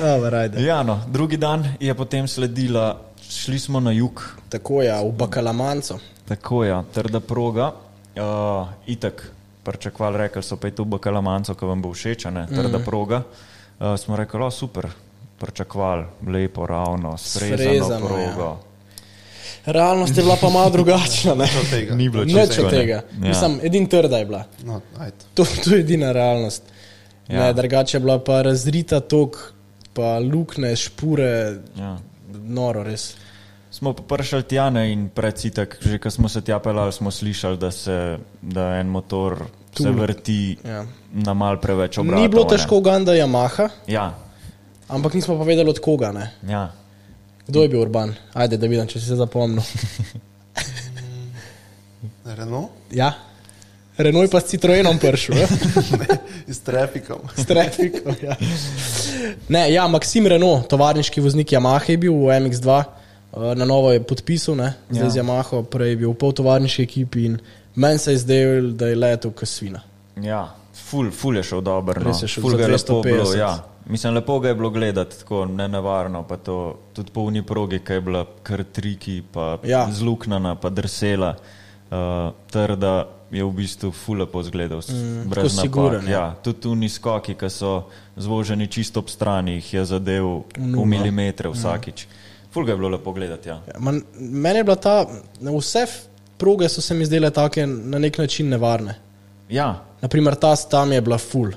S3: Ja, verjde.
S2: Ja, no, drugi dan je potem sledila, šli smo na jug,
S3: Tako je, ja, v Bakalamanco.
S2: Tako je, ja, trda proga. Uh, itak, pričakovali, rekli so, pejte v Bakalamanco, ki vam bo všeč, a ne
S3: Mhm.
S2: trda mm. proga. Uh, smo rekli, o, super, pričakovali, lepo, ravno, srezano
S3: Srezano, ja.
S2: progo.
S3: Realnost je bila pa malo drugačna. Ne?
S4: Nič od tega.
S2: Ni bilo čisto,
S3: Nič od
S2: ne.
S3: tega.
S2: Ja.
S3: Mislim, edin trda je bila.
S4: No, ajde.
S3: To, to je edina realnost. Ja.
S2: Ja.
S3: Ne, drugače je bila pa razrita tok, pa luknje, špure,
S2: Ja.
S3: noro res.
S2: Smo pa prišli tja ne, in precitek, že ko smo se tja pelali, smo slišali, da se da en motor Tul. se vrti
S3: Ja.
S2: ja. na mal preveč obratov.
S3: Ni bilo
S2: a ne.
S3: težko Uganda Yamaha,
S2: Ja,
S3: ampak nismo pa vedeli od koga. Ne?
S2: ja.
S3: Kdo je bil Urban? Ajde, da vidim, če si se
S2: (laughs)
S3: zapomnil.
S4: Renault
S3: Ja. Renault je pa s Citroenom prišel, eh?
S4: s trafikom.
S3: s trafikom. Ja. Ne, ja, Maksim Renault, tovariški voznik Yamaha je bil v MX2, eh, na novo je podpisal, ne, zdaj ja.
S2: Ja.
S3: z Yamaho, prej je bil v poltovariški ekipi in meni se je zdelo, da je letel kasvina.
S2: Ja, ful, ful je šel dobro. No.
S3: Res je šel
S2: Ful
S3: za
S2: ga je lepo
S3: 250.
S2: bilo, ja. Mislim, lepo ga je bilo gledati, tako nenevarno, pa to tudi po uni progi, ki je bila kar triki, pa
S3: Ja.
S2: ja. zluknana, pa drsela, uh, trda je v bistvu ful lepo zgledal, mm, brez
S3: tako
S2: napak.
S3: siguren, ja.
S2: Ja, tudi uni skoki, ki so zvoženi čisto ob strani, jih je zadev v milimetre vsakič.
S3: Mm.
S2: Ful ga je bilo lepo gledati, ja.
S3: Ja, man, meni je bila ta, vse f- proge so se mi zdele take na nek način nevarne.
S2: Ja,
S3: Naprimer, ta s tam je bila full.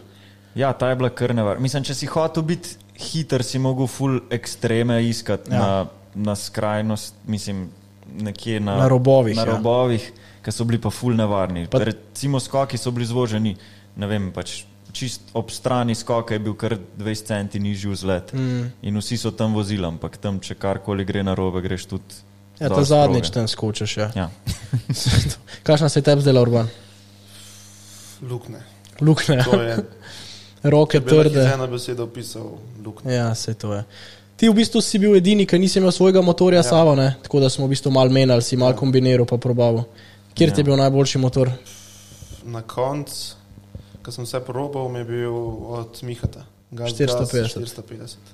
S2: Ja, ta je bila kar nevar. Mislim, če si hotel biti hiter, si mogel full ekstreme iskati ja.
S3: Ja.
S2: na, na skrajnost, mislim, nekje na,
S3: Na robovih,
S2: Na
S3: ja.
S2: robovih, ja. ki so bili pa full nevarni. Pa,
S3: Pa-
S2: Recimo skoki so bili zvoženi, ne vem, pač čist ob strani skoka je bil kar 20 centi nižji vzlet. Mm. In vsi so tam vozili, ampak tam, če karkoli gre na robe, greš tudi.
S3: Ja, ta
S2: dosti
S3: zadnjič
S2: proge.
S3: tam skočiš. Ja.
S2: Ja.
S3: (laughs) Kakšna se je tebi zdela, Urban?
S4: Lukne.
S3: Lukne,
S4: To je
S3: (laughs) roke
S4: trde.
S3: trde.
S4: Ena beseda opisal lukne.
S3: Ja, se to je. Ti v bistvu si bil edini, ki nisi imel svojega motorja ja. samo, tako da smo v bistvu mal menjali, si
S4: Ja.
S3: mal kombiniral pa probavo. Kjer ja. ti je bil najboljši motor? Ja.
S4: Na koncu, ko sem vse probal, mi je bil od Mihata. Gas,
S3: 450.
S4: Gas, 450.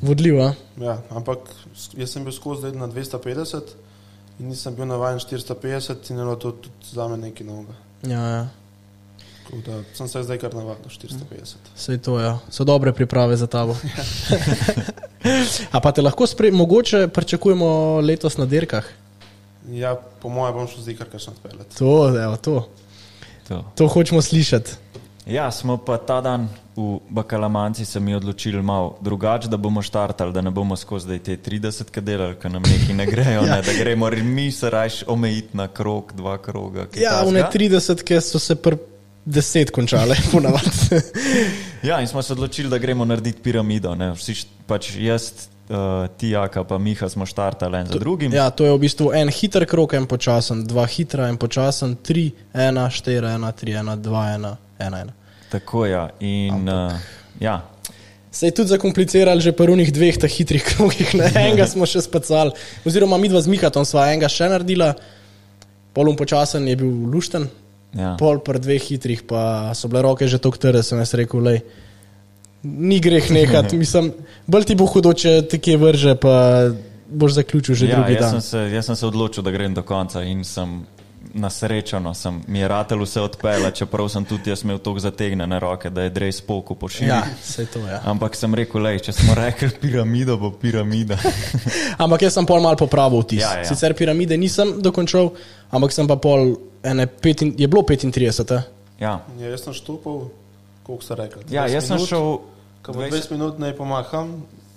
S3: Vodljiva.
S4: Ja, ampak s- jaz sem bil skozi zdaj na 250 in nisem bil navaden 450 in je bilo to tudi za me nekaj novega.
S3: Ja, ja.
S4: Tako da sem se zdaj kar navadil 450.
S3: Sej to, ja. So dobre priprave za tabo. (laughs) A pa te lahko spre, mogoče pričakujemo letos na dirkah?
S4: Ja, po mojem bom šel zdaj kar kakšen odpeljati.
S3: To, evo, to.
S2: To.
S3: to hočemo slišati.
S2: Ja, smo pa ta dan v Bakalamanci se mi odločili malo drugače, da bomo štartali, da ne bomo skozi zdaj te 30, ki delajo, ki nam neki ne
S3: (laughs)
S2: grejo, ja. ne, da gremo re- mi se rajš omejiti na krok, dva kroga. kaj
S3: Ja,
S2: takega.
S3: v ne 30, ki so se pr 10 končale, (laughs) ponavadi.
S2: Ja, in smo se odločili, da gremo narediti piramido. Ne. Vsi, št- pač jaz, uh, ti, Jaka, pa Miha smo štartali en za drugim.
S3: ja, to je v bistvu en hiter krok, en počasen, dva hitra, en počasen, tri, ena, štiri, ena, tri, ena, dva, ena, ena. ena.
S2: Tako ja. In, uh, ja.
S3: Se je tudi zakomplicirali že prvih dveh teh hitrih (laughs) krogih, ne? enega smo še spacali, oziroma mi dva z Mikatom sva enega še naredila, polum počasen je bil lušten,
S2: Ja.
S3: pol pr dveh hitrih pa so bile roke že tako trde, sem jaz rekel, lej, ni greh
S2: (laughs)
S3: nehati, mislim, bolj ti bo hudo, če te kje vrže, pa boš zaključil že
S2: Ja,
S3: drugi
S2: jaz, sem
S3: dan.
S2: se, jaz sem se odločil, da grem do konca in sem nasrečen, sem mi je ratelj vse odpeljal, čeprav sem tudi jaz imel toliko zategnjene roke, da je dres poku pošiljal.
S3: Ja,
S2: Ja.
S3: se to je. Ja.
S2: Ampak sem rekel, lej, če smo rekli (laughs) piramido, bo piramida. (laughs)
S3: Ampak jaz sem pol mal popravil vtis.
S2: Ja,
S3: Ja,
S2: ja.
S3: ja. Sicer piramide nisem dokončal, ampak sem pa pol ene, pet in, je bilo 35. eh?
S2: Ja,
S4: Ja, jaz sem štopal, koliko se reče.
S2: ja jaz sem šel,
S4: Ko bo
S2: 20
S4: 20 minut naj pomaham,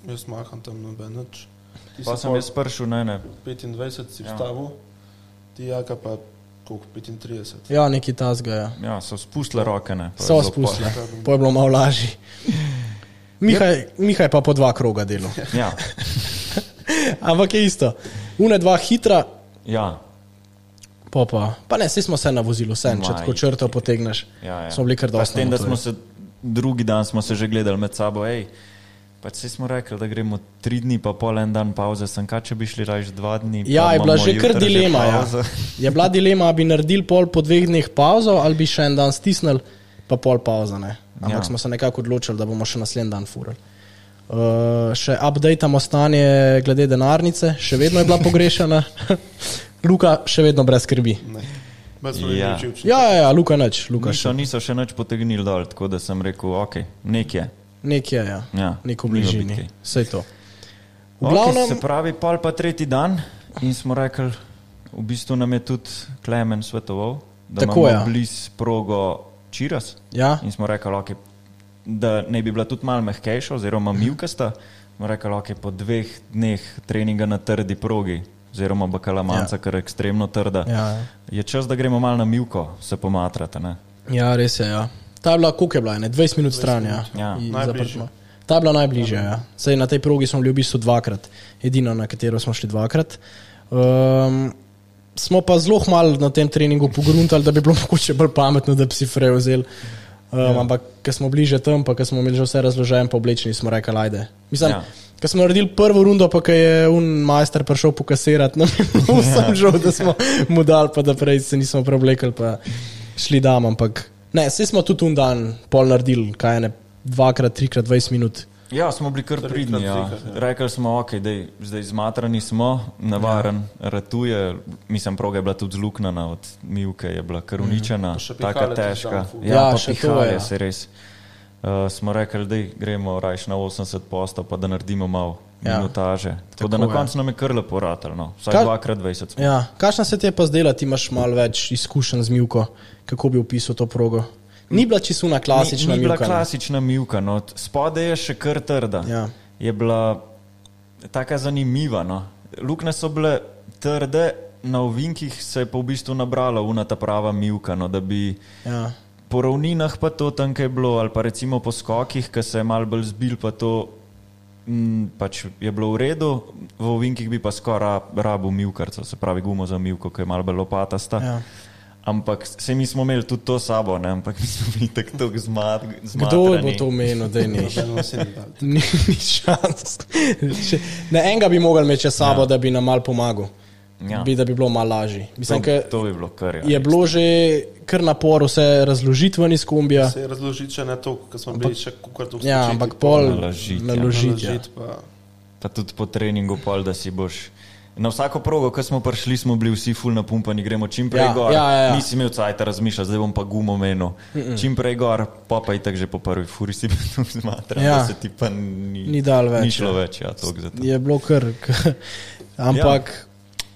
S4: jaz maham tam noben nič. Ti
S2: pa
S4: si
S2: sem
S4: pol
S2: jaz prišel, ne, ne.
S4: 25 si
S2: Ja.
S4: vstavil, ti jaka pa koliko 35.
S3: Ja, neki tasga. Ja.
S2: Ja, so spustile roke, ne. pa je
S3: So
S2: bilo pol.
S3: spustili, pa je bilo malo lažje. Mihaj, Mihaj pa po dva kroga delo.
S2: (laughs) Ja,
S3: Ampak je isto. Une dva hitra,
S2: ja.
S3: pa pa. Pa ne, vsi smo se na vozilu, vse, če
S2: Maj.
S3: tako črto potegneš.
S2: Ja, ja.
S3: Smo bili kar
S2: Pa S
S3: dosti. ja.
S2: tem, da smo se drugi dan smo se že gledali med sabo, hej. Pač si smo rekli, da gremo tri dni, pa pol en dan pauze, sem kaj, če bi šli raje dva dni. pa
S3: Ja, je bila
S2: imamo
S3: že kar
S2: jutri
S3: dilema. Ja.
S2: pauzo.
S3: (laughs) Je bila dilema, ali bi naredili pol po dveh dneh pauzo, ali bi še en dan stisnili, pa pol pauza. Ne? Ampak
S2: Ja.
S3: ja. smo se nekako odločili, da bomo še naslednji dan furali. Uh, še updatamo stanje glede denarnice, še
S2: (laughs)
S3: vedno je bila pogrešana. (laughs) Luka še vedno brez skrbi.
S4: Ne. Brez smo bili
S2: Ja.
S4: učivčni.
S3: Ja, ja, ja Luka nič, Luka še.
S2: Niso, niso še nič potegnili dol, tako da sem rekel, ok, nekje.
S3: Nekje, ja.
S2: Ja,
S3: ja Neko
S2: ni
S3: bližini.
S2: bitke.
S3: Vse to. V
S2: Okay, se
S3: glavnem,
S2: pravi, pol pa tretji dan in smo rekli, v bistvu nam je tudi Klemen svetoval, da
S3: Tako,
S2: imamo
S3: ja.
S2: blizu progo Čiras.
S3: ja,
S2: In smo rekli, okay, da naj bi bila tudi malo mehkejša, oziroma milkasta. Smo rekli, da okay, po dveh dneh treninga na trdi progi, oziroma bakalamanca, ja. ker je ekstremno trda,
S3: ja, ja.
S2: je čas, da gremo malo na milko, se pomatrate. Ne?
S3: ja, res je. Ja. Ta je bila, koliko je bila, ne? 20 minut stran. Ja.
S2: Ja.
S3: I-
S4: Najbližje.
S3: zaprtma. Ta je bila najbližja. Ja. Saj na tej progi smo bili v bistvu dvakrat, edina, na katero smo šli dvakrat. Um, smo pa zelo malo na tem treningu pogruntali, da bi bilo (laughs) mogoče bolj pametno, da bi si frej vzel. Um, ja. Ampak, ker smo bliže tam, pa ker smo imeli že vse razloženo, pa oblečeni smo rekli, ajde. Mislim,
S2: Ja.
S3: ja. Ker smo naredili prvo rundo, pa ko je un majster prišel pokasirati, (laughs) nam je bilo vsem žal, da smo mu dali, pa da prej se nismo preoblekli, pa šli dam. Ampak ne, vsi smo tudi un dan pol naredili, kaj ne, dvakrat, trikrat, 20 minut.
S2: Ja, smo bili kar
S4: Trikrat,
S2: pridni. Ja.
S4: trikrat, ja.
S2: Rekli smo, okay, dej, zdaj zmatrani smo, navaren, ja. ratuje. Mislim, proga je bila tudi zluknjena od Milke, je bila kar uničena,
S4: Mhm. Pa še
S2: tako
S4: pihale tisti
S2: težka.
S4: dan ful.
S2: Ja,
S3: Ja,
S2: pa
S3: še to,
S2: pihale
S3: ja.
S2: se res. Uh, smo rekli, da gremo rajš na 80 posta, pa da naredimo malo ja.
S3: Ja.
S2: minutaže. Tako, Tako da na
S3: Tako je.
S2: koncu nam je kar lepo ratalo, no. vsaj
S3: Kaj-
S2: dvakrat 20 smo.
S3: Ja, kakšna se ti je pa zdela, ti imaš malo več izkušenj z Mivko, kako bi opisal to progo? Ni bila čisuna klasična.
S2: ni, ni bila
S3: mivka, ne.
S2: klasična mivka, no. T- spodaj je še kar trda.
S3: Ja.
S2: Je bila tako zanimiva. No. Luknje so bile trde, na ovinkih se je pa v bistvu nabrala unata prava mivka. No, da bi
S3: Ja.
S2: po ravninah pa to tam, kaj je bilo, ali pa recimo po skokih, ki se je mal bolj zbil, pa to mm, pač je bilo v redu, v ovinkih bi pa skoraj rabu mivkarca, se pravi gumo za mivko, ki je mal bolj lopatasta.
S3: Ja.
S2: Ampak se mi smo imeli tudi to sabo, ne? ampak (laughs) mi smo bili tako tako zmad,
S3: Kdo
S2: zmatrani.
S3: bo to omenil, da
S2: (laughs)
S3: je nekaj?
S4: Nobeno se ni dal.
S3: Ni, ni šans. Če- Ne, enega bi mogel imeti čez sabo, ja. da bi nam mal pomagal. Ja.
S2: Ja.
S3: Bi, da bi bilo malo lažje. Mislim,
S2: To,
S3: ke
S2: to bi bilo kar. Ja.
S3: je bilo že kar napor vse razložiti ven iz kombija.
S4: Se je razložiti še ne to, ker smo bili še kukar tu
S3: Ja, ampak pol
S2: Naložiti, ja.
S3: naložiti. Ja.
S4: Razložiti pa.
S2: Pa tudi po treningu, pol, da si boš. Na vsako progo, ko smo prišli, smo bili vsi ful napumpani, gremo čim prej
S3: Ja,
S2: gor.
S3: ja, ja, ja.
S2: Nisi imel cajt razmišljati, zdaj bom pa gumo menil. Mm -mm. Čim prej gor, pa pa itak že po prvi furi si (laughs) bil tu zmatran,
S3: Ja.
S2: ja. da se ti pa ni,
S3: Ni dalo več,
S2: Ni šlo več, ja, toliko za to.
S3: Je bilo kar. k- (laughs) Ampak ja.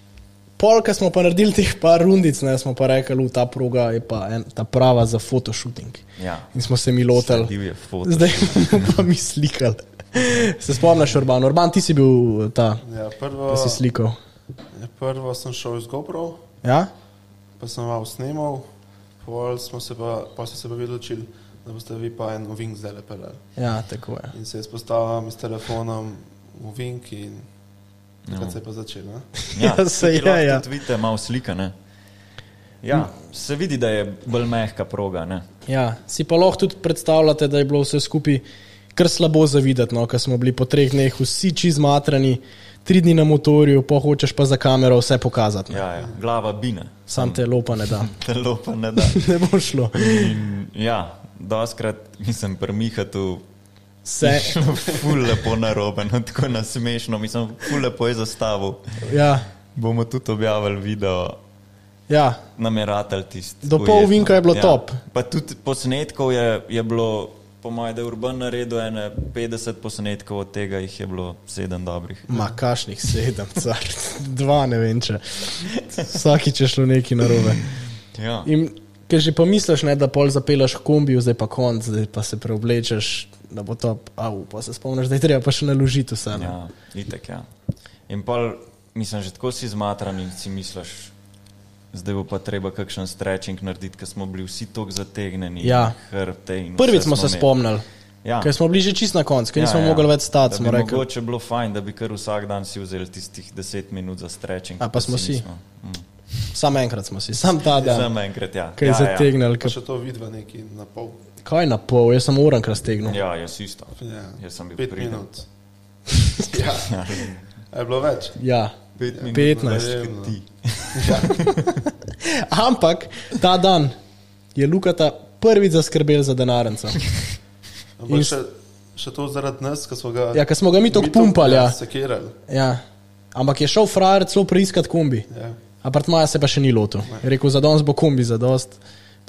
S3: pol, ko smo pa naredili teh par rundic, ne, smo pa rekli, da ta proga je pa en, ta prava za fotoshooting.
S2: Ja.
S3: In smo se mi lotili.
S2: Sledil je foto.
S3: Zdaj bomo (laughs) pa mi slikali. Se spomniš, Urban? Urban, ti si bil eh, ta,
S4: Ja, prvo,
S3: ki si slikal.
S4: ja, prvo sem šel iz GoPro,
S3: Ja?
S4: pa sem malo snimal, pol smo se pa, pol ste se pa vi odločili, da boste vi pa en ovink zdaj lepelali.
S3: ja, tako je.
S4: In se izpostavljam s telefonom v ovink in takrat no. se je pa
S3: (laughs)
S4: začelo.
S3: Ja, se je, ja.
S2: Vidite, malo slika, ne? Ja, se vidi, da je bolj mehka proga, ne?
S3: Ja, si pa lahko tudi predstavljate, da je bilo vse skupaj kar slabo zavidati, no, ker smo bili po treh dneh vsi čizmatrani, tri dni na motorju, pa hočeš pa za kamero vse pokazati. Ja.
S2: Ja, ja. glava bine.
S3: Sam te lopa ne da,
S2: Telo pa ne da.
S3: (laughs) ne bo šlo.
S2: In, ja, doskrat mislim, pri Mihatu je
S3: Se,
S2: šlo (laughs) ful lepo na robe, no, tako nasmešno, mislim, ful lepo je zastavil.
S3: ja,
S2: Bomo tudi objavili video,
S3: ja,
S2: nameratali tisti. Ja.
S3: Do pol vinka je bilo top.
S2: Pa tudi posnetkov je, je bilo, po mojem, da je Urban naredil ene 50 posnetkov, od tega jih je bilo 7 dobrih.
S3: ma kašnih sedem, car, dva ne vem če. Vsakič je šlo nekaj narobe.
S2: Ja.
S3: In ker že pomisliš, ne, da pol zapelaš v kombiju, zdaj pa konc, zdaj pa se preoblečeš, da bo to, au, pa se spomniš, da je treba pa še naložiti vse. Ja.
S2: Ja, itek, ja. In pol, mislim, že tako si zmatran in si misliš, zdaj bo pa treba kakšen strečing narediti, ker smo bili vsi tako zategnjeni.
S3: Ja.
S2: Hrbte in
S3: Prvič
S2: vse
S3: smo se
S2: imeli.
S3: spomnili,
S2: Ja.
S3: ker smo bili že čist na koncu, ker nismo ja, ja. mogli več stati,
S2: Da
S3: smo
S2: bi
S3: rekli.
S2: Mogoče bilo fajn, da bi kar vsak dan si vzeli tistih 10 minut za strečing.
S3: A, pa smo si.
S2: nismo. Mm.
S3: Samo enkrat smo si, sam ta dan,
S2: Samo enkrat, ja.
S3: ki je
S2: ja,
S3: ja, zategnil,
S4: Pa
S3: ja.
S4: še to vidva neki na pol.
S3: kaj na pol, jaz sem uran raztegnil. Ja.
S2: Ja, ja jaz isto.
S4: Ja.
S2: Jaz sem bil
S4: Pet
S2: priden. (laughs)
S4: minut. ja. A je bilo več?
S3: ja. 15.
S4: Verjemno.
S2: Ti.
S3: Ampak ta dan je Lukata prvič zaskrbel za denarnico.
S4: Ampak
S3: In-
S4: še, še to zaradi nas, ki smo ga.
S3: Ja, ker smo ga mi tako pumpali. Ja.
S4: Sekirali.
S3: Ja. Ampak je šel frajer celo preiskati kombi.
S4: Ja.
S3: Apartmaja se pa še ni lotil. Je rekel, za danes bo kombi za dost,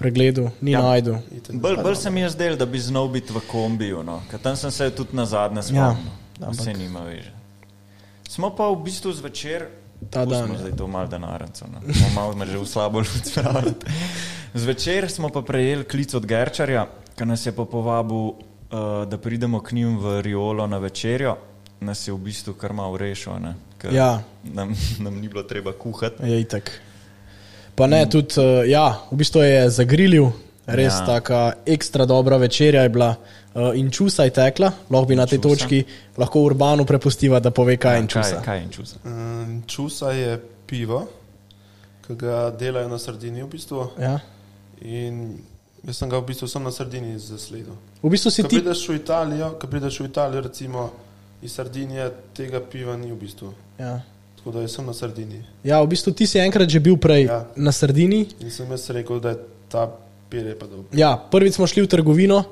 S3: pregledal, ni ja.
S2: Ja.
S3: najdel.
S2: Bolj bol se mi je zdelo, da bi znal biti v kombiju, no. ker tam sem se tudi na zadnje spomnil. Ja, Vse nima veže. Smo pa v bistvu zvečer,
S3: Ta dan,
S2: Pustimo
S3: ja.
S2: zdaj to malo denarnico, no. Smo malo me že v slabo (laughs) luč spravili. Zvečer smo pa prejeli klic od Gerčarja, ki nas je pa povabil, uh, da pridemo k njim v Riolo na večerjo. Nas je v bistvu kar malo rešil, ne, ker
S3: Ja.
S2: nam, nam ni bilo treba kuhati.
S3: Je itak. Pa ne, tudi, eh, ja, v bistvu je zagrilil, res ja.
S2: Ja.
S3: taka ekstra dobra večerja je bila. eh, In čusa je tekla, lahko bi na tej
S2: Inčusa.
S3: točki, lahko urbanu prepustiva, da pove, Ja, kaj je in čusa.
S2: Kaj, kaj in čusa?
S4: Um, čusa je pivo, ki ga delajo na sredini v bistvu.
S3: Ja.
S4: In jaz sem ga v bistvu samo na sredini zasledil.
S3: V bistvu si
S4: Ko
S3: ti.
S4: prideš v Italijo, ko prideš v Italijo, recimo iz Sardinije, tega piva ni v bistvu.
S3: Ja.
S4: Tako da jaz sem na Sardiniji.
S3: ja, v bistvu ti si enkrat že bil prej ja.
S4: Ja.
S3: na sredini,
S4: In sem jaz rekel, da je ta pire pa dobro.
S3: Ja, prvič smo šli v trgovino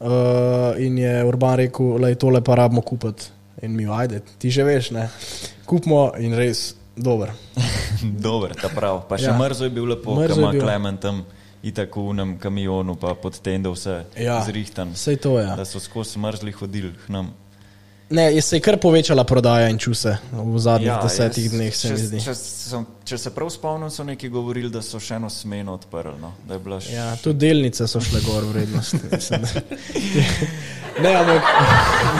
S3: uh, in je Urban rekel, da je tole pa rabimo kupiti. In mi, ajde, ti že veš, ne. Kupimo in res dober.
S2: (laughs) Dober, ta prav. Pa še
S3: Ja.
S2: ja. mrzlo je bil lepo,
S3: Mrzel
S2: ker
S3: je
S2: ima
S3: bil.
S2: Klemen tam in tako v enem kamionu, pa pod tendo vse
S3: Ja.
S2: ja. zrihtan.
S3: Vse to je.
S2: Da so skozi mrzli hodili k nam.
S3: Ne, je se je kar povečala prodaja in čuse v zadnjih ja, desetih
S2: jaz-
S3: jaz, dneh, se
S2: če,
S3: mi zdi.
S2: Če, sem, če se prav spomnim, so neki govorili, da so še eno smeno odprli. No? da je bila še-
S3: Ja, tudi delnice so šle gor vrednost. mislim, da- ne, ampak, (laughs)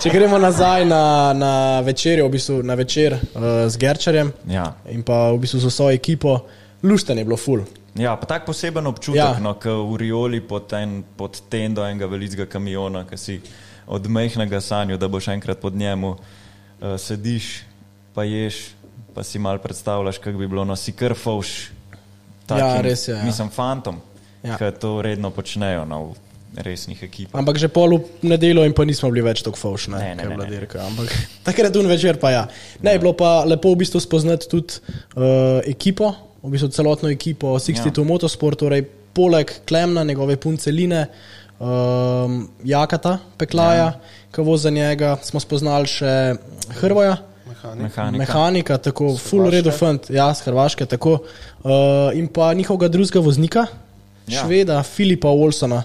S3: če gremo nazaj na, na večerjo, v bistvu na večer uh, z Gerčarjem
S2: Ja.
S3: in pa v bistvu z vso ekipo, lušten je bilo ful.
S2: Ja, pa tak poseben občutek, ja.
S3: Ja.
S2: no, ki v Rioli pod, en, pod tendo enega velikega kamiona, ki si od mehkega sanju, da boš enkrat pod njemu uh, sediš, pa ješ, pa si mal predstavljaš, kako bi bilo, no si krfovš.
S3: Ja, res je, ja.
S2: Nisem fantom, ja.
S3: Ja.
S2: ki to redno počnejo no, v resnih ekipah.
S3: Ampak že pol v nedeljo in pa nismo bili več tako faušni,
S2: Ne, ne,
S3: ne,
S2: ne, ne.
S3: ne, dirka. Ampak (laughs) takrat un večer pa ja. Ne, je bilo pa lepo v bistvu spoznati tudi uh, ekipo, v bistvu celotno ekipo 62
S2: Ja.
S3: ja. Motorsport, torej poleg Klemna, njegove punce Line, um, Jakata, Peklaja, ja. kavo za njega, smo spoznali še Hrvoja.
S4: mehanik.
S2: Mehanika.
S3: Mehanika, tako full
S4: Hrvaške.
S3: redo fant, ja, z Hrvaške, tako. Uh, in pa njihovega drugega voznika,
S2: Ja.
S3: ja. šveda Filipa Olsona,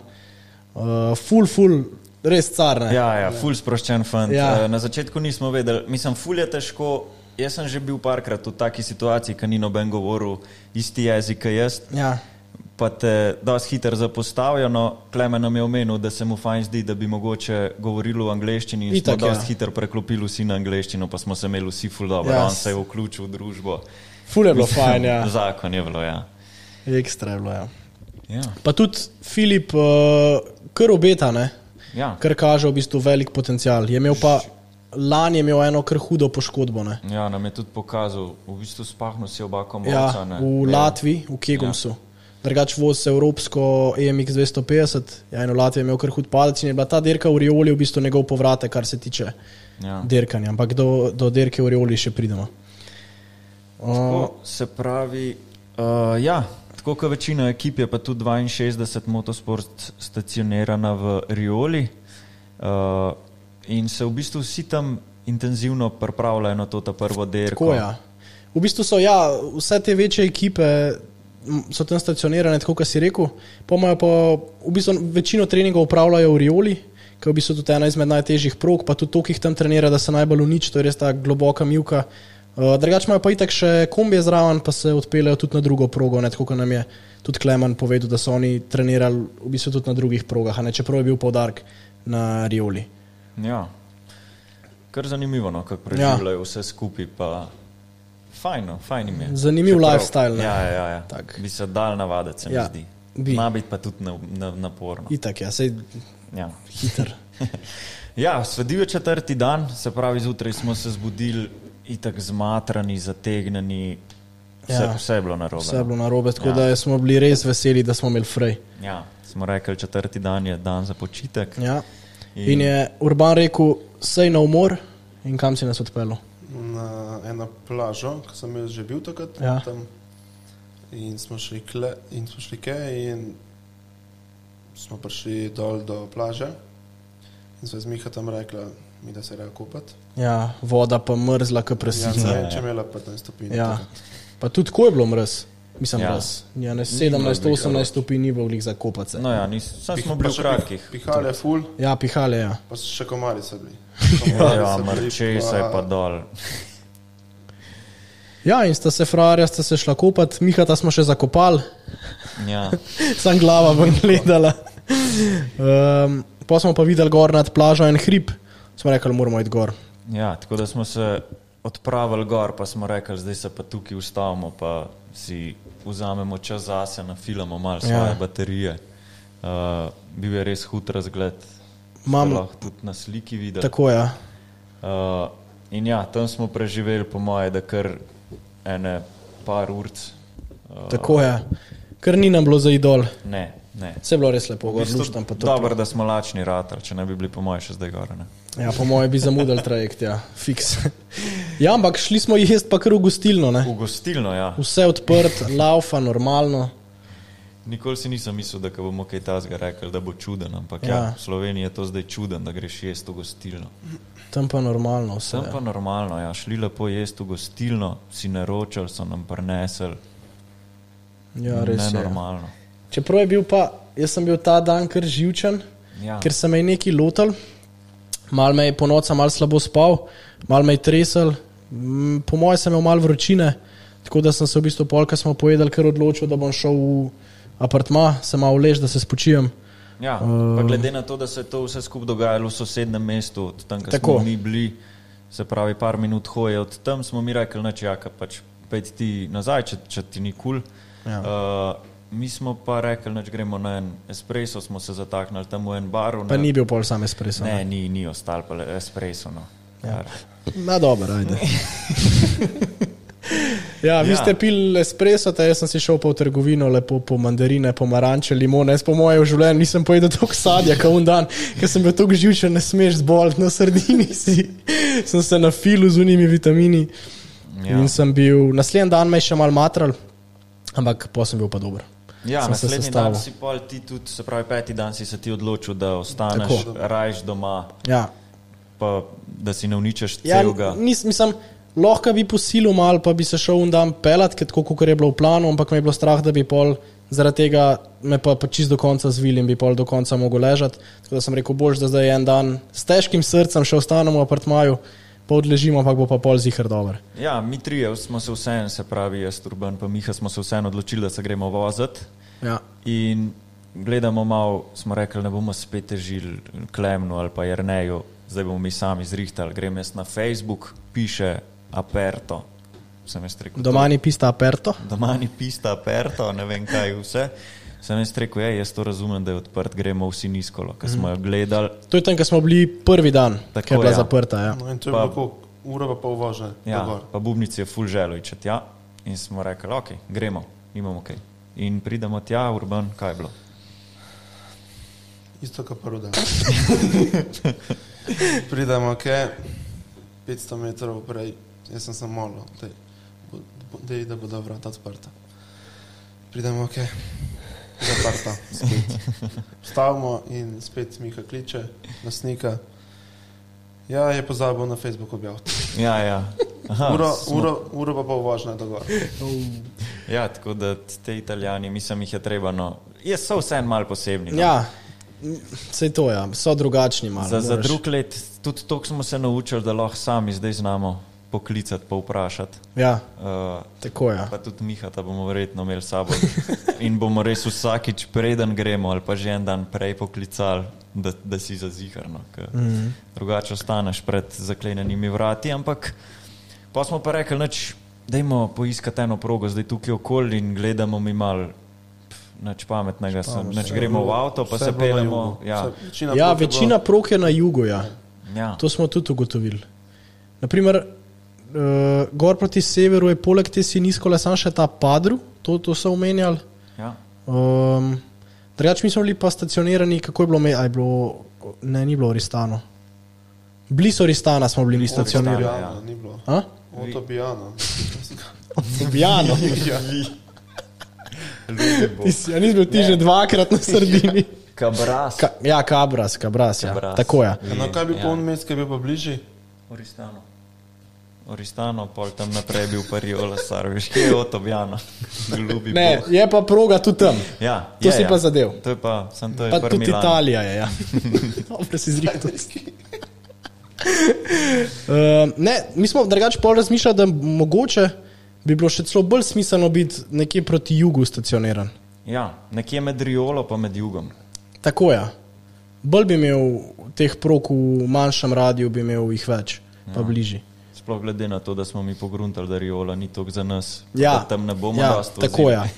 S3: uh, full, full, res carne. Ja.
S2: Ja, ja, ful sproščen fant.
S3: Ja.
S2: Ja. Na začetku nismo vedeli, mislim, ful je težko. Jaz sem že bil parkrat v taki situaciji, ki ni noben govoril isti jezik, kot jaz.
S3: Ja.
S2: Pa te dosti hitro zapostavijo. No, Klemen nam je omenil, da se mu fajn zdi, da bi mogoče govorili v angleščini. In
S3: Itak,
S2: smo
S3: ja.
S2: dosti ja. hitro preklopili vsi na angleščino, pa smo se imeli vsi ful dobro.
S3: Ja,
S2: Yes. On
S3: s-
S2: se je vključil v družbo.
S3: Ful je bilo
S2: Mislim,
S3: fajn, (laughs) ja.
S2: Zakon je bilo, ja.
S3: Ekstra je bilo, ja.
S2: Ja,
S3: Pa tudi Filip, uh, kar obeta, ne?
S2: ja.
S3: kar kaže v bistvu velik potencial. Je imel pa lani je imel eno kar hudo poškodbo. Ne?
S2: ja nam je tudi pokazal, v bistvu spahnil si oba komorca.
S3: Ja, v Latviji, v Kegumsu. Ja. Drugač voz evropsko E EMX 250, ja, in v Latviji je imel kar hud padec in je bila ta dirka v Rioli v bistvu njegov povratek, kar se tiče
S2: Ja.
S3: dirkanja, ampak do, do dirke v Rioli še pridemo.
S2: Tako, se pravi, uh, ja, tako kot večina ekip je pa tudi 62 motosport stacionirana v Rioli uh, in se v bistvu vsi tam intenzivno pripravljajo na to ta prvo
S3: Tako,
S2: derko.
S3: ja. V bistvu so ja, vse te večje ekipe m, so tam stacionirane, tako kot si rekel. Pa imajo pa v bistvu večino treningov upravljajo v Rioli, ki je v bistvu tudi ena izmed najtežjih prog, pa tudi to, ki jih tam trenira, da se najbolj uniči, to je res ta globoka mivka. Uh, drugač imajo pa itak še kombije zraven, pa se odpeljejo tudi na drugo progo, ne, tako kot nam je tudi Klemen povedal, da so oni trenirali v bistvu tudi na drugih progah, a ne, čeprav je bil poudarek na Rioli.
S2: ja. Kar zanimivo, no, kako preživljajo ja. vse skupaj. pa Fajno, fajn jim je.
S3: Zanimiv lifestyle, ne.
S2: Ja, ja, ja, ja.
S3: Tak.
S2: Bi se dal navaditi, se mi
S3: Ja,
S2: zdi.
S3: bi.
S2: Ma biti pa tudi na, na, naporno.
S3: Itak, ja, sej
S2: Ja.
S3: hiter.
S2: (laughs) Ja, sledil je četrti dan, se pravi, zjutraj smo se zbudili itak zmatrani, zategnjeni, vse, ja.
S3: Ja.
S2: vse je bilo narobe.
S3: Vse je bilo narobe, tako
S2: Ja.
S3: ja. da smo bili res veseli, da smo imeli frej.
S2: Ja, smo rekli, četrti dan je dan za počitek.
S3: Ja.
S2: In-
S3: In... in je Urban rekel, sej na umor in kam si nas odpeljal.
S4: Na eno plažo, ki sem jo že bil takrat.
S3: Ja.
S4: Tam, in smo šli kle, in smo šli kaj, in smo prišli dol do plaže. In sva z Miha tam rekla, mi da se reka kupati.
S3: Ja, voda pa mrzla, kot
S4: Ja,
S3: presica.
S4: ne
S3: Ja,
S4: vem, če je imela 15 stopinj.
S3: ja. Pa tudi ko je bilo mrz, mislim,
S2: Ja.
S3: ja. mrz. Ja, ne,
S2: bilo
S3: 17,
S2: veliko
S3: 18 stopinj ni bilo glih za kopati.
S2: No, ja, nis, sam smo bili v kratkih.
S4: Pihale ful,
S3: Ja, pihale, ja.
S4: pa so še komari
S2: (laughs)
S4: sedli.
S2: Ja, mrče se je pa dol.
S3: Ja, in sta se frajarja, sta se šla kopati, Mihata smo še zakopali, (laughs)
S2: Ja.
S3: sam glava ven gledala. Um, pa smo pa videli gor nad plažo en hrib, smo rekli, moramo iti gor.
S2: ja, tako da smo se odpravili gor, pa smo rekli, zdaj se pa tukaj ustavimo, pa si vzamemo čas zase, nafilamo malo svoje ja.
S3: Ja.
S2: baterije. Uh, bil je res hud razgled.
S3: Imam-
S2: Ste lahko tudi na sliki videl.
S3: Tako je. Ja.
S2: Uh, in ja, tam smo preživeli, po moje, da kar ene par ur. Uh,
S3: Tako je, ker ni nam bilo za idol.
S2: ne, ne.
S3: Vse je bilo res lepo,
S2: V
S3: gor
S2: bistvu
S3: luštam pa to.
S2: Dobro, da smo lačni ratar, če ne bi bili, po moje, še zdaj gore. Ne?
S3: Ja, po mojem bi zamudili trajekt, ja, fiks. (laughs) Ja, ampak šli smo jesti pa kar v gostilno, ne.
S2: V gostilno, ja.
S3: Vse odprt, laufa, normalno.
S2: Nikoli si nisem mislil, da ko bomo kaj tasga rekli, da bo čuden, ampak ja. Ja,
S3: Ja.
S2: v Sloveniji je to zdaj čuden, da greš jesti v gostilno.
S3: Tam pa normalno vse.
S2: Sem pa normalno, ja, šli lepo jesti v gostilno, si naročili, so nam prinesli.
S3: Ja, res je.
S2: Nenormalno.
S3: Čeprav je bil pa, jaz sem bil ta dan kar živčen,
S2: Ja.
S3: ker sem jih neki lotil. Mal me je po noči malo slabo spal, mal me je tresel, mm, po mojem sem imel malo vročine, tako da sem se v bistvu polka smo pojedali, ker odločil, da bom šel v apartma, se malo lež, da se spočijem.
S2: Ja,
S3: Uh,
S2: pa glede na to, da se je to vse skupaj dogajalo v sosednjem mestu, od tam, kjer
S3: Tako.
S2: smo mi bili, se pravi, par minut hoje, od tam smo mi rekli, da čaka, pač pojdi ti nazaj, če, če ti ni kul. Cool. Ja. Uh, mi smo pa rekli, da gremo na en espresso, smo se zataknili tam v en bar.
S3: Pa ni bil pol sam espresso.
S2: Ne, ni, ni ostal pa le espresso. No. Ja.
S3: Na dobro, ajde. (laughs) Ja, vi
S2: Ja.
S3: ja. ste pili espresso, ta jaz sem si šel pa v trgovino, lepo po mandarine, pomaranče, limone. Jaz po mojem življenju nisem pojedel toliko sadja, kot un dan, ker sem bil tako živčen, ne smeš zboliti na sredini si. (laughs) sem se na filu z unimi vitamini ja.
S2: Ja.
S3: in sem bil, naslednji dan me je še mal matral, ampak pa sem bil pa dober.
S2: Ja,
S3: Sem se
S2: naslednji dan
S3: sestavil.
S2: si pol ti tudi, se pravi, peti dan si se ti odločil, da ostaneš
S3: Tako.
S2: rajš doma,
S3: Ja,
S2: pa da si ne uničiš
S3: Ja,
S2: celega.
S3: nis, mislim, lahko bi posilil malo, pa bi se šel un dan pelat, ker tako kot je bilo v planu, ampak me je bilo strah, da bi pol zaradi tega me pa, pa čist do konca zvil in bi pol do konca mogel ležati. Tako da sem rekel, bož, da zdaj en dan s težkim srcem še ostanemo v apartmaju, pa odležimo, ampak bo pa pol zihar dober.
S2: Ja, mi trije smo se vseeno, se pravi, jaz, Urban in Miha, smo se vseeno odločili, da se gremo voziti.
S3: Ja.
S2: In gledamo malo, smo rekli, ne bomo spet težili Klemnu ali pa Jrneju, zdaj bomo mi sami zrihtali. Grem jaz na Facebook, piše Aperto. Sem jaz rekel,
S3: Doma ni pista aperto.
S2: doma ni pista Aperto, ne vem kaj vse. Sem jaz rekel, je, jaz to razumem, da je odprt, gremo vsi nizkolo, ker smo jo gledali.
S3: To je tam, kjer smo bili prvi dan,
S2: Tako,
S3: ki je bila
S2: ja.
S3: ja. zaprta. Ja.
S4: No, in to je
S2: Pa-
S4: bilo koliko? ura pa pol vožnje.
S2: Ja,
S4: gor.
S2: pa Bubnici je full želojče tja in smo rekli, ok, gremo, imamo kaj. In pridemo tja, urban, kaj je bilo.
S4: Isto kot prvi dan. (laughs) Pridemo, ok, 500 metrov prej, jaz sem samo molil, daj, bo- bo- daj, da bodo vrata odprta. Pridemo, ok, zaprta, spet. Stavimo in spet Miha kliče, lasnika. Ja, je pozabil na Facebooku objaviti.
S2: Ja, ja. Aha,
S4: Uro,
S2: smo-
S4: uro, uro pa pol vožnje dogor.
S2: ja, tako da te italijani, mislim, jih je treba. No, jaz so vseeno malo posebni. No.
S3: Ja, vse to je, ja. so drugačni malo.
S2: za, za
S3: moraš-
S2: drug let, tudi to smo se naučili, da lahko sami zdaj znamo poklicati, pa vprašati.
S3: Ja,
S2: Uh,
S3: tako je. Ja.
S2: Pa tudi Mihata bomo verjetno imeli s sabo. In bomo res vsakič, preden gremo, ali pa že en dan prej poklicali, da, da si zaziharno. Mm -hmm. Drugače ostaneš pred zaklenjenimi vrati. Ampak pa smo pa rekli, noč, dajmo poiskati eno progo, zdaj tukaj okoli in gledamo mi mal. Nač pametnega, sem, nač gremo v avto, pa
S4: Vse
S2: se
S4: je bilo na
S2: peljemo.
S4: jugu.
S2: Ja,
S4: Vse- večina
S3: Ja,
S4: proti bo-
S3: večina prog je na jugu. Ja.
S2: ja.
S3: To smo tudi ugotovili. Naprimer, uh, gor proti severu je poleg te siniskole sam še ta Padru, to, to so omenjali.
S2: ja.
S3: Um, Drugač mi smo bili pa stacionirani, kako je bilo, me, a je bilo ne, ni bilo Ristano. Bili so Ristana, smo bili mi stacionirani.
S2: Oristana.
S4: Avtobijana, Ni bilo. ja,
S3: A?
S4: Avtobijana.
S2: (laughs)
S3: Ljubljano. Ti si- Ja, nisem bil ti že
S2: (laughs)
S3: dvakrat
S2: Ja.
S3: na sredini.
S2: Kabras.
S3: Ka, ja, Kabras, Kabras. Ja.
S2: Kabras.
S3: Tako je. Ja.
S4: No, kaj bi ja. poln mest, ki bi pa bližji?
S2: Oristano. Oristano, pol tam naprej je bil Pariola, Sarviš, ki je od Objana. Ljubi
S3: Ne,
S2: Bog.
S3: je pa proga tudi tam.
S2: Ja,
S3: to
S2: je,
S3: si
S2: ja.
S3: pa zadev.
S2: To je pa, sem to je
S3: Pa
S2: pri
S3: tudi
S2: Milanu.
S3: Italija je.
S2: (laughs)
S3: Ja. Dobro si zrihtal. Uh, ne, mi smo drugače pol razmišljali, da mogoče bi bilo še celo bolj smiselno biti nekje proti jugu stacioniran.
S2: Ja, nekje med Riolo pa med jugom.
S3: Tako je. Bolj bi imel teh prok v manjšem radiju, bi imel jih več, pa
S2: Ja.
S3: bližje.
S2: Sploh glede na to, da smo mi pogruntali, da Riola ni toliko za nas.
S3: Ja,
S2: Da tam ne bomo
S3: ja,
S2: dosti
S3: tako
S2: vozili.
S3: je.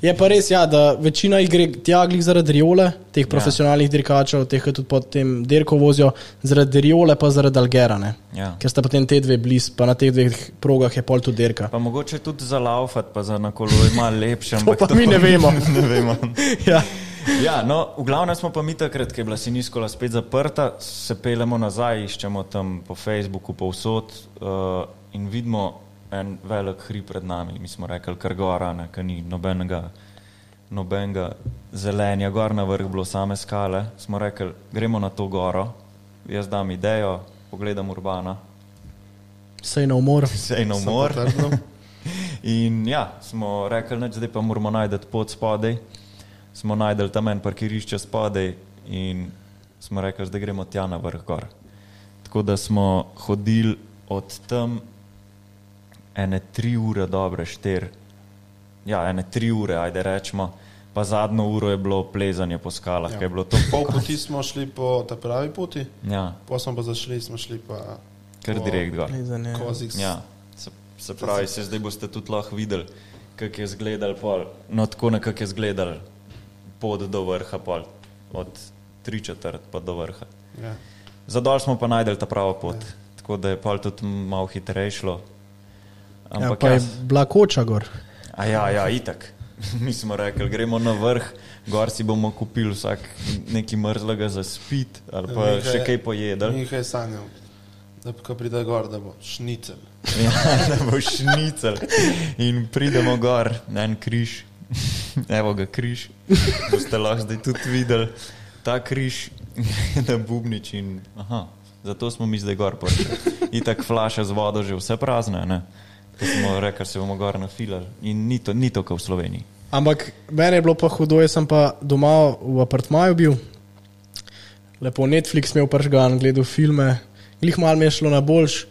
S3: Je pa res, ja, da večina jih gre tja glih zaradi riole,
S2: Ja.
S3: teh profesionalnih dirkačev, teh ki tudi potem dirko vozijo, zaradi riole pa zaradi algerane.
S2: Ja.
S3: Ker sta potem te dve blizu, pa na teh dveh progah je pol tu dirka.
S2: Pa mogoče tudi za laufat, pa za na kolo je malo lepše. ampak
S3: pa mi ne vemo.
S2: (laughs) ne vemo.
S3: Ja.
S2: Ja, no, v glavnem smo pa mi takrat, ko je bila Siniskola spet zaprta, se pelemo nazaj, iščemo tam po Facebooku, povsod uh, in vidimo en velik hrib pred nami. Mi smo rekli, kar gora, ne, ker ni nobenega, nobenega zelenja, gor na vrh bilo same skale. Smo rekli, gremo na to goro, jaz dam idejo, pogledam urbana, (laughs)
S3: Sej na umor.
S2: sej na
S4: Sem
S2: umor.
S3: (laughs)
S4: potrdil.
S2: In ja, smo rekli, da zdaj pa moramo najti pot spodaj. Smo najdel tam en parkirišče spodaj in smo rekli, da gremo tja na vrh gor. Tako da smo hodili od tam ene tri ure, dobre štiri. Ja, ene tri ure, ajde rečemo. Pa zadnjo uro je bilo plezanje po skalah, ja.
S4: Ja.
S2: ki je bilo to
S4: Pol poti smo šli po ta pravi poti,
S2: Ja,
S4: pa smo pa zašli, smo šli pa
S2: kar
S4: Po-
S2: direkt gor.
S3: Plezanje.
S4: kozik. s-
S2: Ja, se, se pravi, se zdaj boste tudi lahko videli, kako je izgledal pol. No, tako nekako je izgledal pot do vrha, pol. od tri četrt pa do vrha.
S4: Ja.
S2: Zadolj smo pa najdel ta pravo pot, tako da je pol tudi malo hitreje šlo.
S3: Ja,
S2: Ampak
S3: pa
S2: ja,
S3: je bila koča gor.
S2: A ja, ja, itak. (laughs) Mi smo rekli, gremo na vrh, gor si bomo kupili vsak nekaj mrzlega za spit ali pa
S4: Nekaj-
S2: še kaj pojedel.
S4: Nekaj je sanjal, da bi ko pride gor, da bo šnicel.
S2: Ja, da bo šnicel. In pridemo gor, na en križ, evo ga križ, boste lahko zdaj tudi videli. Ta križ je na bubnič in aha, zato smo mi zdaj gor prišli. Itak flaša z vodo že vse prazne, ne? Ko smo rekli, se bomo gor nafilali in ni to, ni to kot v Sloveniji.
S3: Ampak meni je bilo pa hudo, jaz sem pa doma v apartmaju bil, lepo Netflix imel pržgan, gledal filme, glih malo mi je šlo na boljš.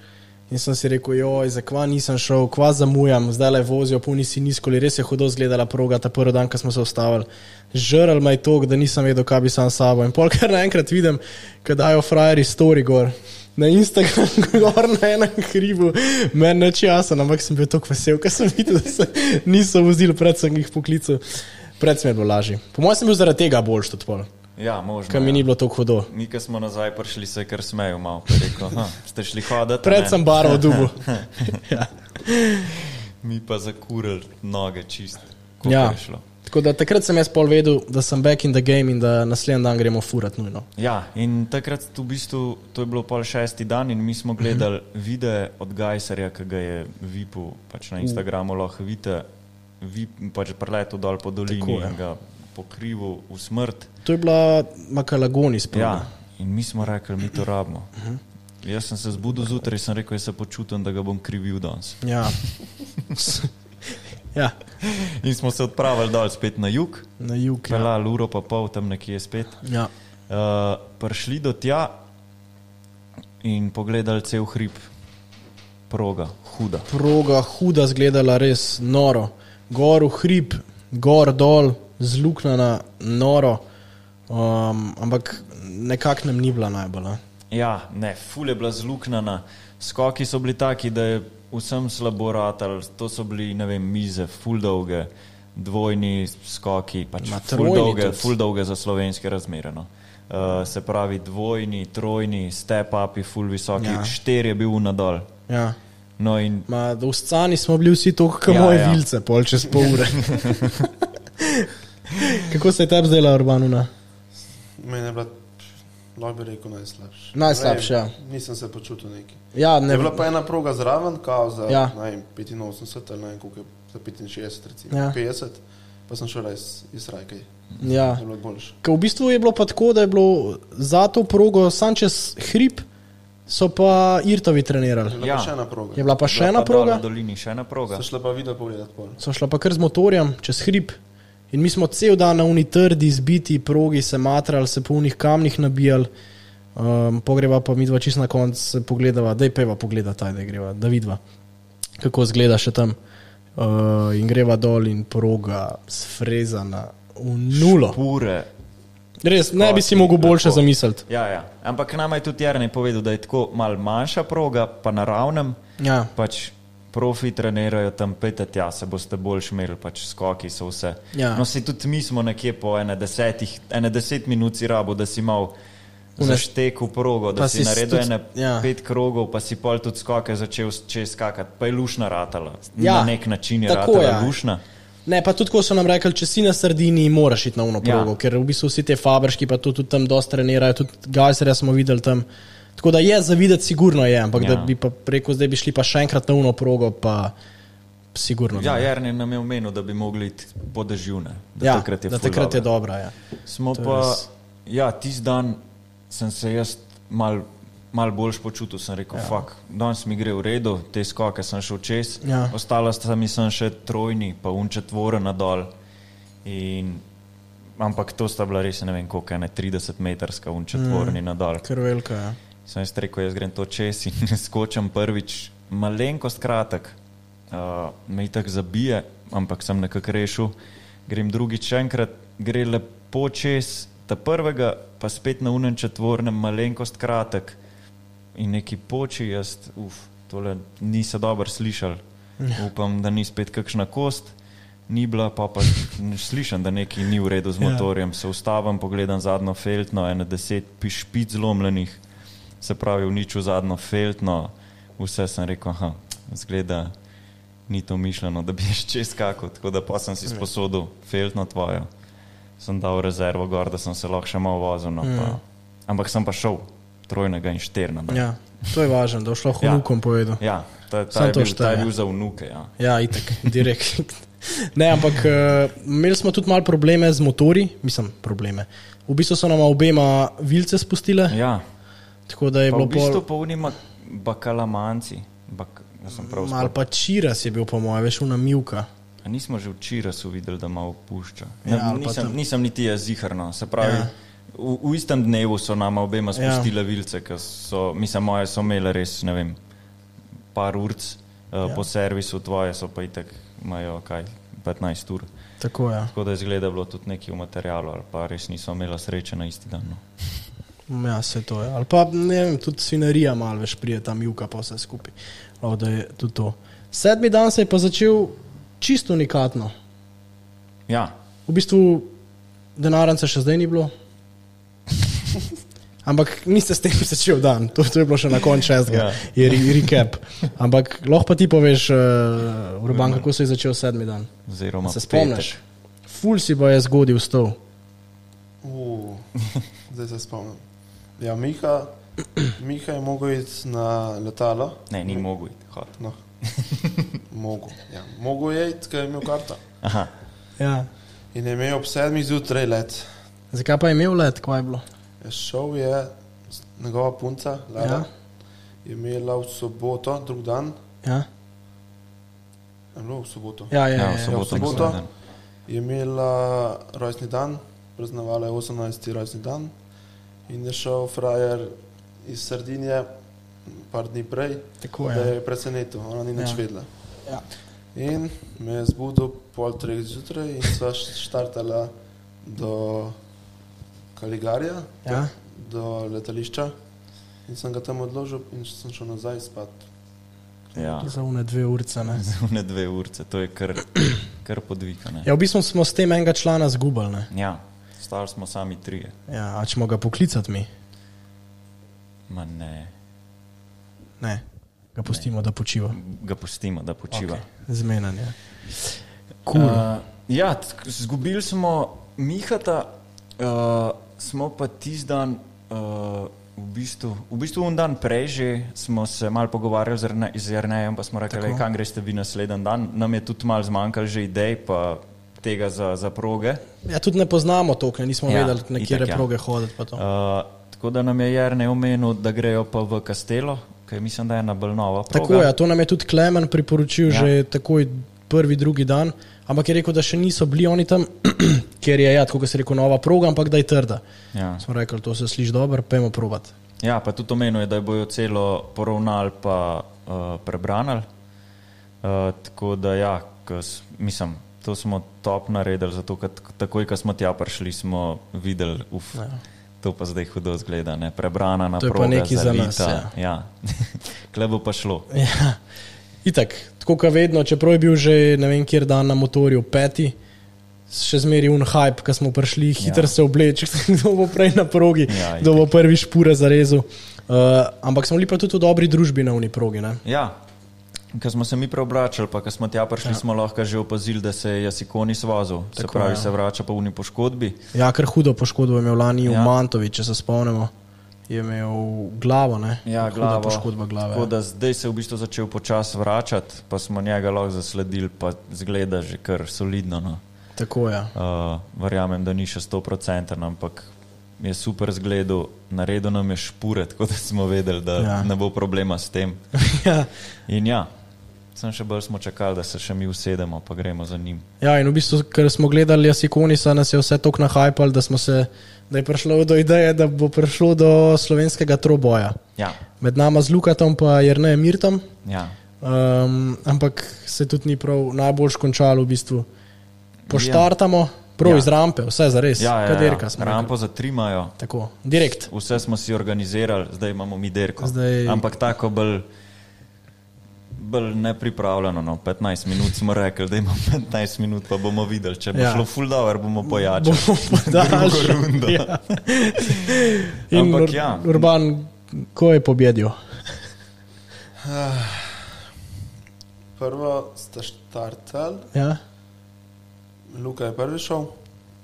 S3: In sem si rekel, joj, zakva nisem šel, kva zamujam, zdaj le vozijo, puni si nizkoli, res je hudo zgledala proga, ta prvi dan, ko smo se ustavili. Žrl me je to, da nisem vedel, kaj bi sam s sabo. In (laughs) polkar naenkrat vidim, kaj dajo frajeri story gor. Na Instagramu, (laughs) gor na enem hribu, meni je časen, ampak sem bil tako vesel, ker sem videl, da se (laughs) niso vozili, pred sem jih poklical, pred sem je bilo lažje. Po mojem sem bil zaradi tega boljši od pol,
S2: Ja, možno.
S3: ker mi
S2: ja.
S3: ni bilo tako hudo.
S2: Mi, ki smo nazaj prišli, se je kar smejo malo. pa Rekel, "Aha, ste šli hoditi?
S3: Pred
S2: ne?"
S3: sem barvo dubo. ja.
S2: Mi pa zakurili noge čist. koliko
S3: Ja.
S2: je šlo.
S3: Tako da takrat sem jaz pol vedel, da sem back in the game in da naslednji dan gremo furat nujno.
S2: Ja, in takrat v bistvu, to je bilo pol šesti dan in mi
S3: Mhm.
S2: smo gledali video od Gajserja, ki ga je Vipu pač na Instagramu lahko vidite. Vip pač preletel dol po dolini
S3: Tako, ja.
S2: in ga pokrival v smrt.
S3: To je bila Makalagoni sprva.
S2: Ja, in mi smo rekli, mi to rabimo.
S3: Mhm.
S2: Jaz sem se zbudil zjutraj in sem rekel, jaz se počutim, da ga bom krivil danes.
S3: Ja. ja,
S2: In smo se odpravili dol spet na jug,
S3: na jug. Ja.
S2: pelali uro pa pol tam nekje spet.
S3: Ja.
S2: Uh, prišli do tja in pogledali cel hrib, proga, huda.
S3: Proga huda zgledala res noro. Gor v hrib, gor dol, zluknjena noro. Um, ampak nekako nam ni bila najbolj. a.
S2: Ja, ne, ful je bila zluknjena, skoki so bili taki, da je vsem slabo ratal, to so bili, ne vem, mize, ful dolge, dvojni skoki, pač
S3: Ma,
S2: ful
S3: trojni
S2: dolge,
S3: tudi.
S2: ful dolge za slovenske razmere. No. Uh, se pravi, dvojni, trojni, step-upi, ful visoki,
S3: Ja.
S2: ja. štir je bil nadol.
S3: Ja.
S2: No in
S3: Ma, v Scani smo bili vsi tako, kot ja,
S2: Ja,
S3: moje ja.
S2: ja.
S3: vilce, pol čez pol ure. Kako se je tebi zdela, Urbanuna?
S4: Meni je bila, lahko bi rekel, najslabša.
S3: Najslabša,
S4: Ne
S3: ja.
S4: vem, Nisem se počutil neki.
S3: Ja,
S4: Ne,
S3: ne,
S4: je bila pa ena proga zraven, kao za
S3: Ja.
S4: ja. vem, 85 ali ne vem, koliko je, za 65, recimo,
S3: Ja.
S4: ja. 50, pa sem šel iz, iz Rajke, je
S3: ja.
S4: bilo boljše.
S3: Ker v bistvu je bilo pa tako, da je bilo za to progo sam čez hrib, so pa Irtovi trenirali.
S4: Je bila
S2: Ja.
S4: ja. pa še ena proga.
S3: Je bila pa še
S2: bila
S3: ena
S2: pa dol
S3: proga,
S2: Na dolini še ena proga.
S4: Sem šla pa video pogledat pol.
S3: so šla pa kar z motorjem čez hrib. In mi smo cel dan na uni trdi, zbiti, progi, se matrali, se po unih kamnih nabijali. Um, pogreba pa mi dva čist na koncu se pogledava, da je peva pogleda taj, da greva, da vidva, kako zgleda še tam. Uh, in greva dol in proga sfrezana v nulo.
S2: Pure.
S3: Res, ne bi si mogel boljše zamisliti.
S2: Ja, ja. Ampak nam je tudi Jarni povedal, da je tako mal manjša proga, pa na ravnem.
S3: Ja.
S2: Pač profi trenirajo tam pete tja, se boste bolj šmerili, pač skoki so vse.
S3: Ja.
S2: No, se tudi mi smo nekje po ene, desetih, ene deset minut si rabo, da si mal
S3: Vnes-
S2: zaštekel progo, da
S3: Pa
S2: si,
S3: si
S2: si naredil
S3: tudi-
S2: tudi, ene
S3: ja.
S2: ja. pet krogov, pa si pol tudi skoke začel s- čez skakati, pa je lušna ratala.
S3: Ja.
S2: Na nek način je
S3: Tako,
S2: ratala
S3: ja.
S2: lušna.
S3: Ne, pa tudi ko so nam rekli, če si na sredini, moraš iti na uno
S2: Ja.
S3: progo, ja. ker v bistvu vsi te fabrški pa tudi, tudi tam dosta trenirajo, tudi Gajserja smo videli tam. Tako da je za videti, sigurno je, ampak ja. da
S2: Ja.
S3: bi pa rekel, zdaj bi šli pa še enkrat na uno progo, pa sigurno. da
S2: Ja,
S3: ne.
S2: Jarni nam je omenil, da bi mogli iti po dežju. Da
S3: ja,
S2: takrat je,
S3: da
S2: ful
S3: takrat je
S2: dobro.
S3: dobra. Ja.
S2: Smo
S3: To je
S2: pa,
S3: res.
S2: ja, tisti dan sem se jaz mal, mal boljš počutil. Sem rekel, ja. fuck, danes mi gre v redu, te skoke sem šel čez,
S3: Ja.
S2: ostala sta mi sem še trojni, pa un četvoren nadol. In, ampak to sta bila res, ne vem, koliko je 30 metrska un četvorni mm. nadol.
S3: Krvelka, ja.
S2: Sem jaz rekel, jaz grem to čez in (laughs) skočim prvič, malenkost kratek, uh, me tako zabije, ampak sem nekako rešil. Grem drugič še enkrat, gre lepo čez ta prvega, pa spet na unem četvornem, malenkost kratek in neki poči, jaz, uf, tole niso dobro slišali. Upam, da ni spet kakšna kost, ni bila pa pa slišim, da nekaj ni v redu z motorjem. Se ustavim, pogledam zadnjo feltno, ena deset pišpic zlomljenih, se pravi, uničil zadnjo feltno, vse sem rekel, aha, zgleda. Ni to mišljeno, da bi še čez kako, tako da pa sem si sposodil feltno tvojo. Sem dal rezervo gor, da sem se lahko še malo vozil. No, pa. Ampak sem pa šel, trojnega in šternega.
S3: Ja, to je važno, da boš lahko
S2: Ja.
S3: vnukom povedal.
S2: Ja, ta, ta,
S3: Samo
S2: je
S3: to
S2: bil, ta
S3: šteje.
S2: je bil za vnuke. Ja.
S3: Ja, itek, (laughs) direkt. Ne, ampak eh, imeli smo tudi malo probleme z motori, mislim, probleme. V bistvu so nam obema vilce spustile, ja.
S2: Ja.
S3: tako da je
S2: Pa v
S3: bilo
S2: bistvu
S3: pol,
S2: polnimo bakalamanci. Bak, jaz sem prav
S3: malo
S2: spomnil.
S3: pa čiras je bil, po mojem, veš, unamivka.
S2: A Nismo že včeraj so videli, da malo pušča. Ne,
S3: Ja,
S2: ja,
S3: ali pa
S2: nisem,
S3: tam-
S2: nisem niti jaz ziharno. Se pravi,
S3: Ja.
S2: ja. v, v istem dnevu so nama obema
S3: Ja.
S2: spustile ja. vilce, ker so, mislim, moje so imele res, ne vem, par urc uh, ja. po servisu, tvoje so pa itek, imajo kaj, 15 ur.
S3: Tako je. Ja.
S2: Tako da je zgleda bilo tudi nekaj v materialu, ali pa res niso imela sreče na isti dan. No.
S3: Ja, se to je. Ali pa ne vem, tudi svinarija malo več prije tam juka, pa vse skupaj. O, da je tudi to. Sedmi dan se je pa začel čisto unikatno.
S2: Ja,
S3: V bistvu denarnice še zdaj ni bilo. Ampak niste s tem začel dan, to, to je bilo še na koncu šestega,
S2: Ja.
S3: je re, recap. Ampak lahko pa ti poveš, uh, Urban, kako se je začel sedmi dan.
S2: oziroma
S3: Se
S2: petek.
S3: spomniš? Ful si bo je zgodil stol.
S4: Uh, zdaj se spomnim. Ja, Miha, Miha je mogel iti na letalo.
S2: Ne, ni mogel, hod.
S4: No. Mogo, ja. Mogo je iti, ker je imel karta.
S2: Aha,
S3: Ja.
S4: In je imel ob sedmih zjutraj let.
S3: Zakaj pa je imel let, kaj je bilo?
S4: Ja, Šel je, s- njegova punca, Lara,
S3: Ja.
S4: ja. je imela v soboto, drug dan,
S3: Ja,
S4: je bilo v soboto.
S3: ja, ja,
S2: ja,
S3: ja,
S2: v
S3: ja, ja.
S2: soboto.
S4: v
S2: na
S4: soboto.
S2: dan.
S4: Je imela rojstni dan, praznovala je 18. rojstni dan in je šel frajer iz Sardinije, par dni prej,
S3: tako
S4: da
S2: Ja.
S3: je.
S4: je presenetil, ona ni
S3: Ja.
S4: nič ja. vedela.
S3: Ja.
S4: In me je zbudil pol treh zjutraj in sva š- štartala do Kaligarja,
S3: Ja.
S4: do letališča. In sem ga tam odložil in sem šel nazaj spat.
S2: Ja, (laughs)
S3: Za une dve urce. Ne?
S2: ne dve urce, to je kar, kar podvikane.
S3: Ja, v bistvu smo s tem enega člana zgubili. ne.
S2: Ja, stari smo sami trije.
S3: Ja, a če smo ga poklicati mi,
S2: Ma ne,
S3: ne. ga pustimo, da počiva.
S2: ga pustimo, da počiva. Okay.
S3: Zmenen je. Cool. Uh,
S2: Uh, ja, t- zgubili smo Mihata, uh, smo pa tisti dan, uh, v bistvu, v bistvu en dan prej, že smo se malo pogovarjali z Erne- z Jrnejem, pa smo rekli, "Lej, kam greste vi naslednji dan. Nam je tudi malo zmanjkalo že idej, pa tega za, za proge.
S3: ja, tudi ne poznamo to, ker nismo ja,
S2: Ja,
S3: vedeli, na kje
S2: itak, ja.
S3: proge hoditi. pa to.
S2: Uh, tako da nam je Jrnej omenil, da grejo pa v Kastelo, ki mislim, da je ena bolj nova. proga.
S3: Tako je, to nam je tudi Klemen priporočil ja.
S2: Ja.
S3: že takoj prvi, drugi dan, ampak je rekel, da še niso bili oni tam, (clears throat) ker je, ja, tako kot se reče, nova proga, ampak da je trda.
S2: Ja.
S3: Smo rekli, to se sliši dobro, pojmo provat.
S2: Ja, pa tudi omenil je, da jo bojo celo poravnali pa uh, prebranali. Uh, tako da, ja, ko s- mislim, to smo top naredili, zato ker tak- takoj, ko smo tja prišli, smo videli, uf, ja. to pa zdaj hudo zgleda, ne? prebrana na
S3: To je pa
S2: proga,
S3: nekaj za
S2: zalita,
S3: nas,
S2: Ja. (laughs) Kle bo pa šlo.
S3: Ja. Itak, tako kot vedno, čeprav je bil že ne vem, kjer dan na motorju, peti, še zmeraj un hype, ki smo prišli, hitro ja. se obleči, (laughs) kdo bo prej na progi, ja,
S2: Ja,
S3: kdo bo prvi špure zarezal. Uh, ampak smo bili pa tudi v dobri družbi na uniprogi. Ne?
S2: Ja. Ko smo se mi preobračali, pa ko smo tja prišli, ja. smo lahko že opazili, da se je Jasikoni svazil. Se
S3: Tako,
S2: pravi,
S3: ja.
S2: ja. se vrača po uni poškodbi.
S3: Ja, kar hudo poškodbo je imel lani ja. v
S2: Ja.
S3: Mantovi, če se spomnimo. Je imel glavo, ne?
S2: Ja,
S3: Huda
S2: glavo.
S3: poškodba glave. ja.
S2: Tako da zdaj se je v bistvu začel počasi vračati, pa smo njega lahko zasledili, pa zgleda že kar solidno. No.
S3: Tako je. Ja.
S2: Uh, verjamem, da ni še 100%, ampak je super zgledal, naredil nam je špure, tako da smo vedeli, da
S3: Ja. (laughs)
S2: ja. ne bo problema s tem.
S3: ja.
S2: In ja, Sem še bolj smo čakali, da se še mi usedemo, pa gremo za njim.
S3: Ja, in v bistvu, ker smo gledali Jasikonisa, nas je vse tako nahajpal, da, smo se- da je prišlo do ideje, da bo prišlo do slovenskega troboja.
S2: Ja,
S3: Med nama z Lukatom in Jrnejem Mirtom,
S2: ja.
S3: um, ampak se tudi ni prav najbolj končalo v bistvu. Poštartamo, prav
S2: Ja.
S3: ja. iz rampe, vse za res,
S2: ja, ja, ja.
S3: kaderka smo.
S2: Rampo zatrimajo.
S3: rekli. Tako, direkt.
S2: Vse smo si organizirali, zdaj imamo mi derko.
S3: Zdaj-
S2: Ampak tako bolj, bolj nepripravljeno. No. 15 minut smo rekli, da imamo 15 minut, pa bomo videli. Če bo ja.
S3: Ja.
S2: šlo full dower, bomo pojačali.
S3: Bomo
S2: Drugo rundo.
S3: podaljšali. Ja. In
S2: Ampak
S3: Ampak,
S2: ja.
S3: ja. Urban, ko je pobedil?
S4: Prvo ste štartali,
S3: Ja,
S4: Luka je prvi šel,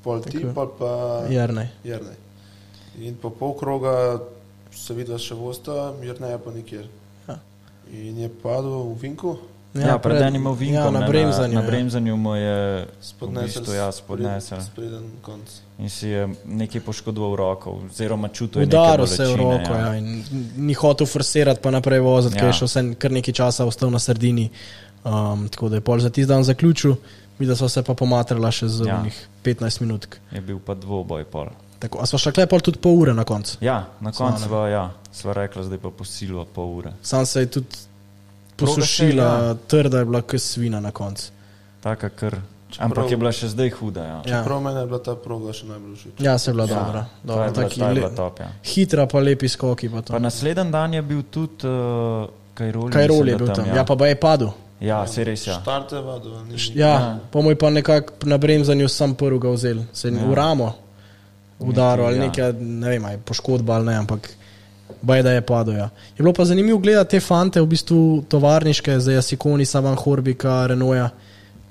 S4: pol ti,
S3: Tako. Ja.
S4: pol pa
S3: Jrnej.
S4: Jrnej. In po pol kroga se vidi še vosta, Jrnej je pa nikjer.
S3: Ja.
S4: In je padel v vinku,
S2: Ja, pred enim ovinkom,
S3: Ja,
S2: ne,
S3: na bremzanju.
S2: Na, na bremzanju mu je v
S4: spodnesel.
S3: ja,
S2: bistvu jaz podnesel.
S4: Spreden konc.
S2: In si je nekaj poškodoval roko, oziroma čutil
S3: Ja.
S2: je neke
S3: Udaril se je v
S2: bolečine,
S3: roko ja. ja, in ni hotel forsirati, pa naprej voziti, ja.
S2: Ja.
S3: ker je še vse kar nekaj časa ostal na sredini. Um, tako da je pol za tisti dan zaključil, mi da so se pa pomatrala še za
S2: Ja.
S3: ja. 15 minut.
S2: Je bil pa dvoboj pol.
S3: Tako, a smo šli pol tudi pol ure na koncu.
S2: Ja, na
S3: Sva,
S2: koncu sva, ja, sva rekla, zdaj pa posilo pol ure.
S3: Sam se je tudi
S2: Proga
S3: posušila,
S2: se je, ja.
S3: ja. trda je bila kot svina na koncu.
S2: Taka kar. Ampak je bila še zdaj huda. Ja.
S3: Ja.
S4: Prav meni je bila ta proga še najbolj všeč.
S3: ja, se je bila ja. dobra.
S2: to je
S3: dobra.
S2: bila,
S3: Taki
S2: ta je
S3: le-
S2: bila top, ja.
S3: Hitra, pa lepi skoki. Pa to.
S2: Pa naslednji dan je bil tudi uh, Kajrol.
S3: Kaj rol je bil tam, ja,
S2: Ja,
S3: ja pa ba je padel.
S2: ja se res je. Ja.
S4: Štarte vadova, ni nič.
S3: Ja, po mojem pa nekako na bremzanju sem prvi ga vzel, se
S2: Ja.
S3: ja. v ramo udaril ali
S2: ja.
S3: nekaj, ne vem, a je poškodba ali ne, ampak baj da je padel. Ja. Je bilo pa zanimivo gledati te fante, v bistvu tovarniške, za Jasikoni, Savan Horbika, Renoja.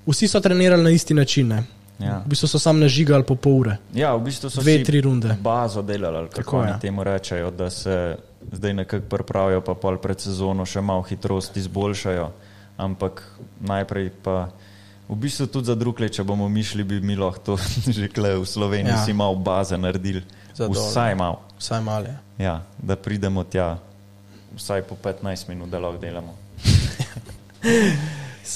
S3: Vsi so trenirali na isti način, ne.
S2: Ja.
S3: v bistvu so sam nažigali po pol ure,
S2: ja, v bistvu so
S3: dve,
S2: si
S3: tri runde.
S2: bazo delali, ali kako
S3: Tako,
S2: oni
S3: ja.
S2: temu rečejo, da se zdaj nekako pripravijo, pa pol pred sezono še malo hitrost izboljšajo. Ampak najprej pa. V bistvu tudi za druge, če bomo mi šli, bi mi lahko (laughs) to že kle v Sloveniji ja.
S3: Ja.
S2: si malo baze naredili.
S3: Zadovolj.
S2: Vsaj malo.
S3: Vsaj male.
S2: Ja, da pridemo tja, vsaj po 15 minut, da lahko delamo.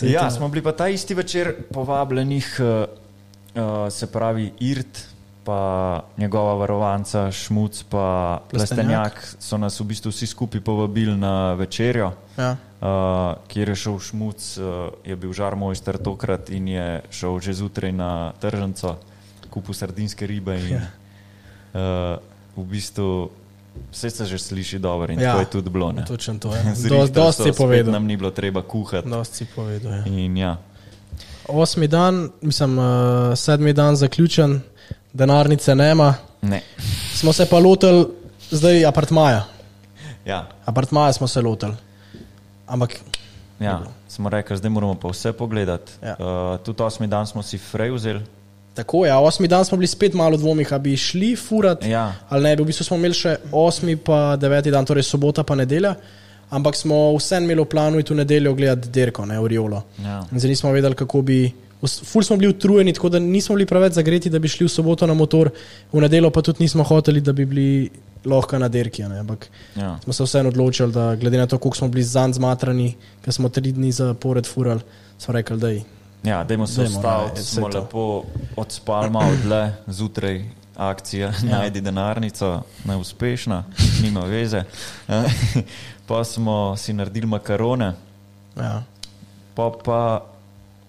S2: Ja, smo bili pa ta isti večer povabljeni, uh, se pravi Irt, pa njegova varovanca Šmuc, pa
S3: Plestenjak.
S2: Plestenjak, so nas v bistvu vsi skupaj povabili na večerjo.
S3: Ja.
S2: Uh, kjer je šel Šmuc, uh, je bil žarmojster tokrat in je šel že zjutraj na tržnico, kupil sardinske ribe. In,
S3: Ja.
S2: uh, v bistvu vse se že sliši dobro in ja.
S3: Ja.
S2: to je tudi bilo. ne.
S3: Točno
S2: (laughs)
S3: to je.
S2: Z
S3: Do-
S2: Richterso
S3: Dosti je
S2: spet
S3: povedal.
S2: Nam ni bilo treba kuhati. No.
S3: Dosti si povedal. Ja.
S2: In ja,
S3: Osmi dan, mislim, uh, sedmi dan zaključen, denarnice nema.
S2: ne.
S3: Smo se pa lotili zdaj apartmaja.
S2: Ja,
S3: Apartmaja smo se lotili. Ampak
S2: ja. Smo rekli, zdaj moramo pa vse pogledati.
S3: Ja.
S2: Uh, tudi osmi dan smo si frej vzeli.
S3: tako je, ja, osmi dan smo bili spet malo v dvomih, ali bi šli furati.
S2: Ja.
S3: Ali ne, bi. v bistvu smo imeli še osmi, pa deveti dan, torej sobota, pa nedelja. Ampak smo vseeno imeli v planu iti v nedeljo gledati derko, ne Oriolo.
S2: Ja.
S3: In Zdaj nismo vedeli, kako bi. us- Ful smo bili utrujeni, tako da nismo bili preveč zagreti, da bi šli v soboto na motor, v nedeljo pa tudi nismo hoteli, da bi bili lahko na derki. a ne, Ampak
S2: Ja.
S3: smo se vseeno odločili, da glede na to, koliko smo bili zanj zmatrani, ker smo tri dni zapored furali, smo rekli, da je.
S2: Ja, dajmo se
S3: Dajmo,
S2: ustaviti,
S3: ne,
S2: smo
S3: saj to.
S2: lepo odspali, malo dlje zjutraj. Akcija, ja. (laughs) najdi denarnico, neuspešna, nima veze. Eh, (laughs) pa smo si naredili makarone,
S3: Ja.
S2: pa, pa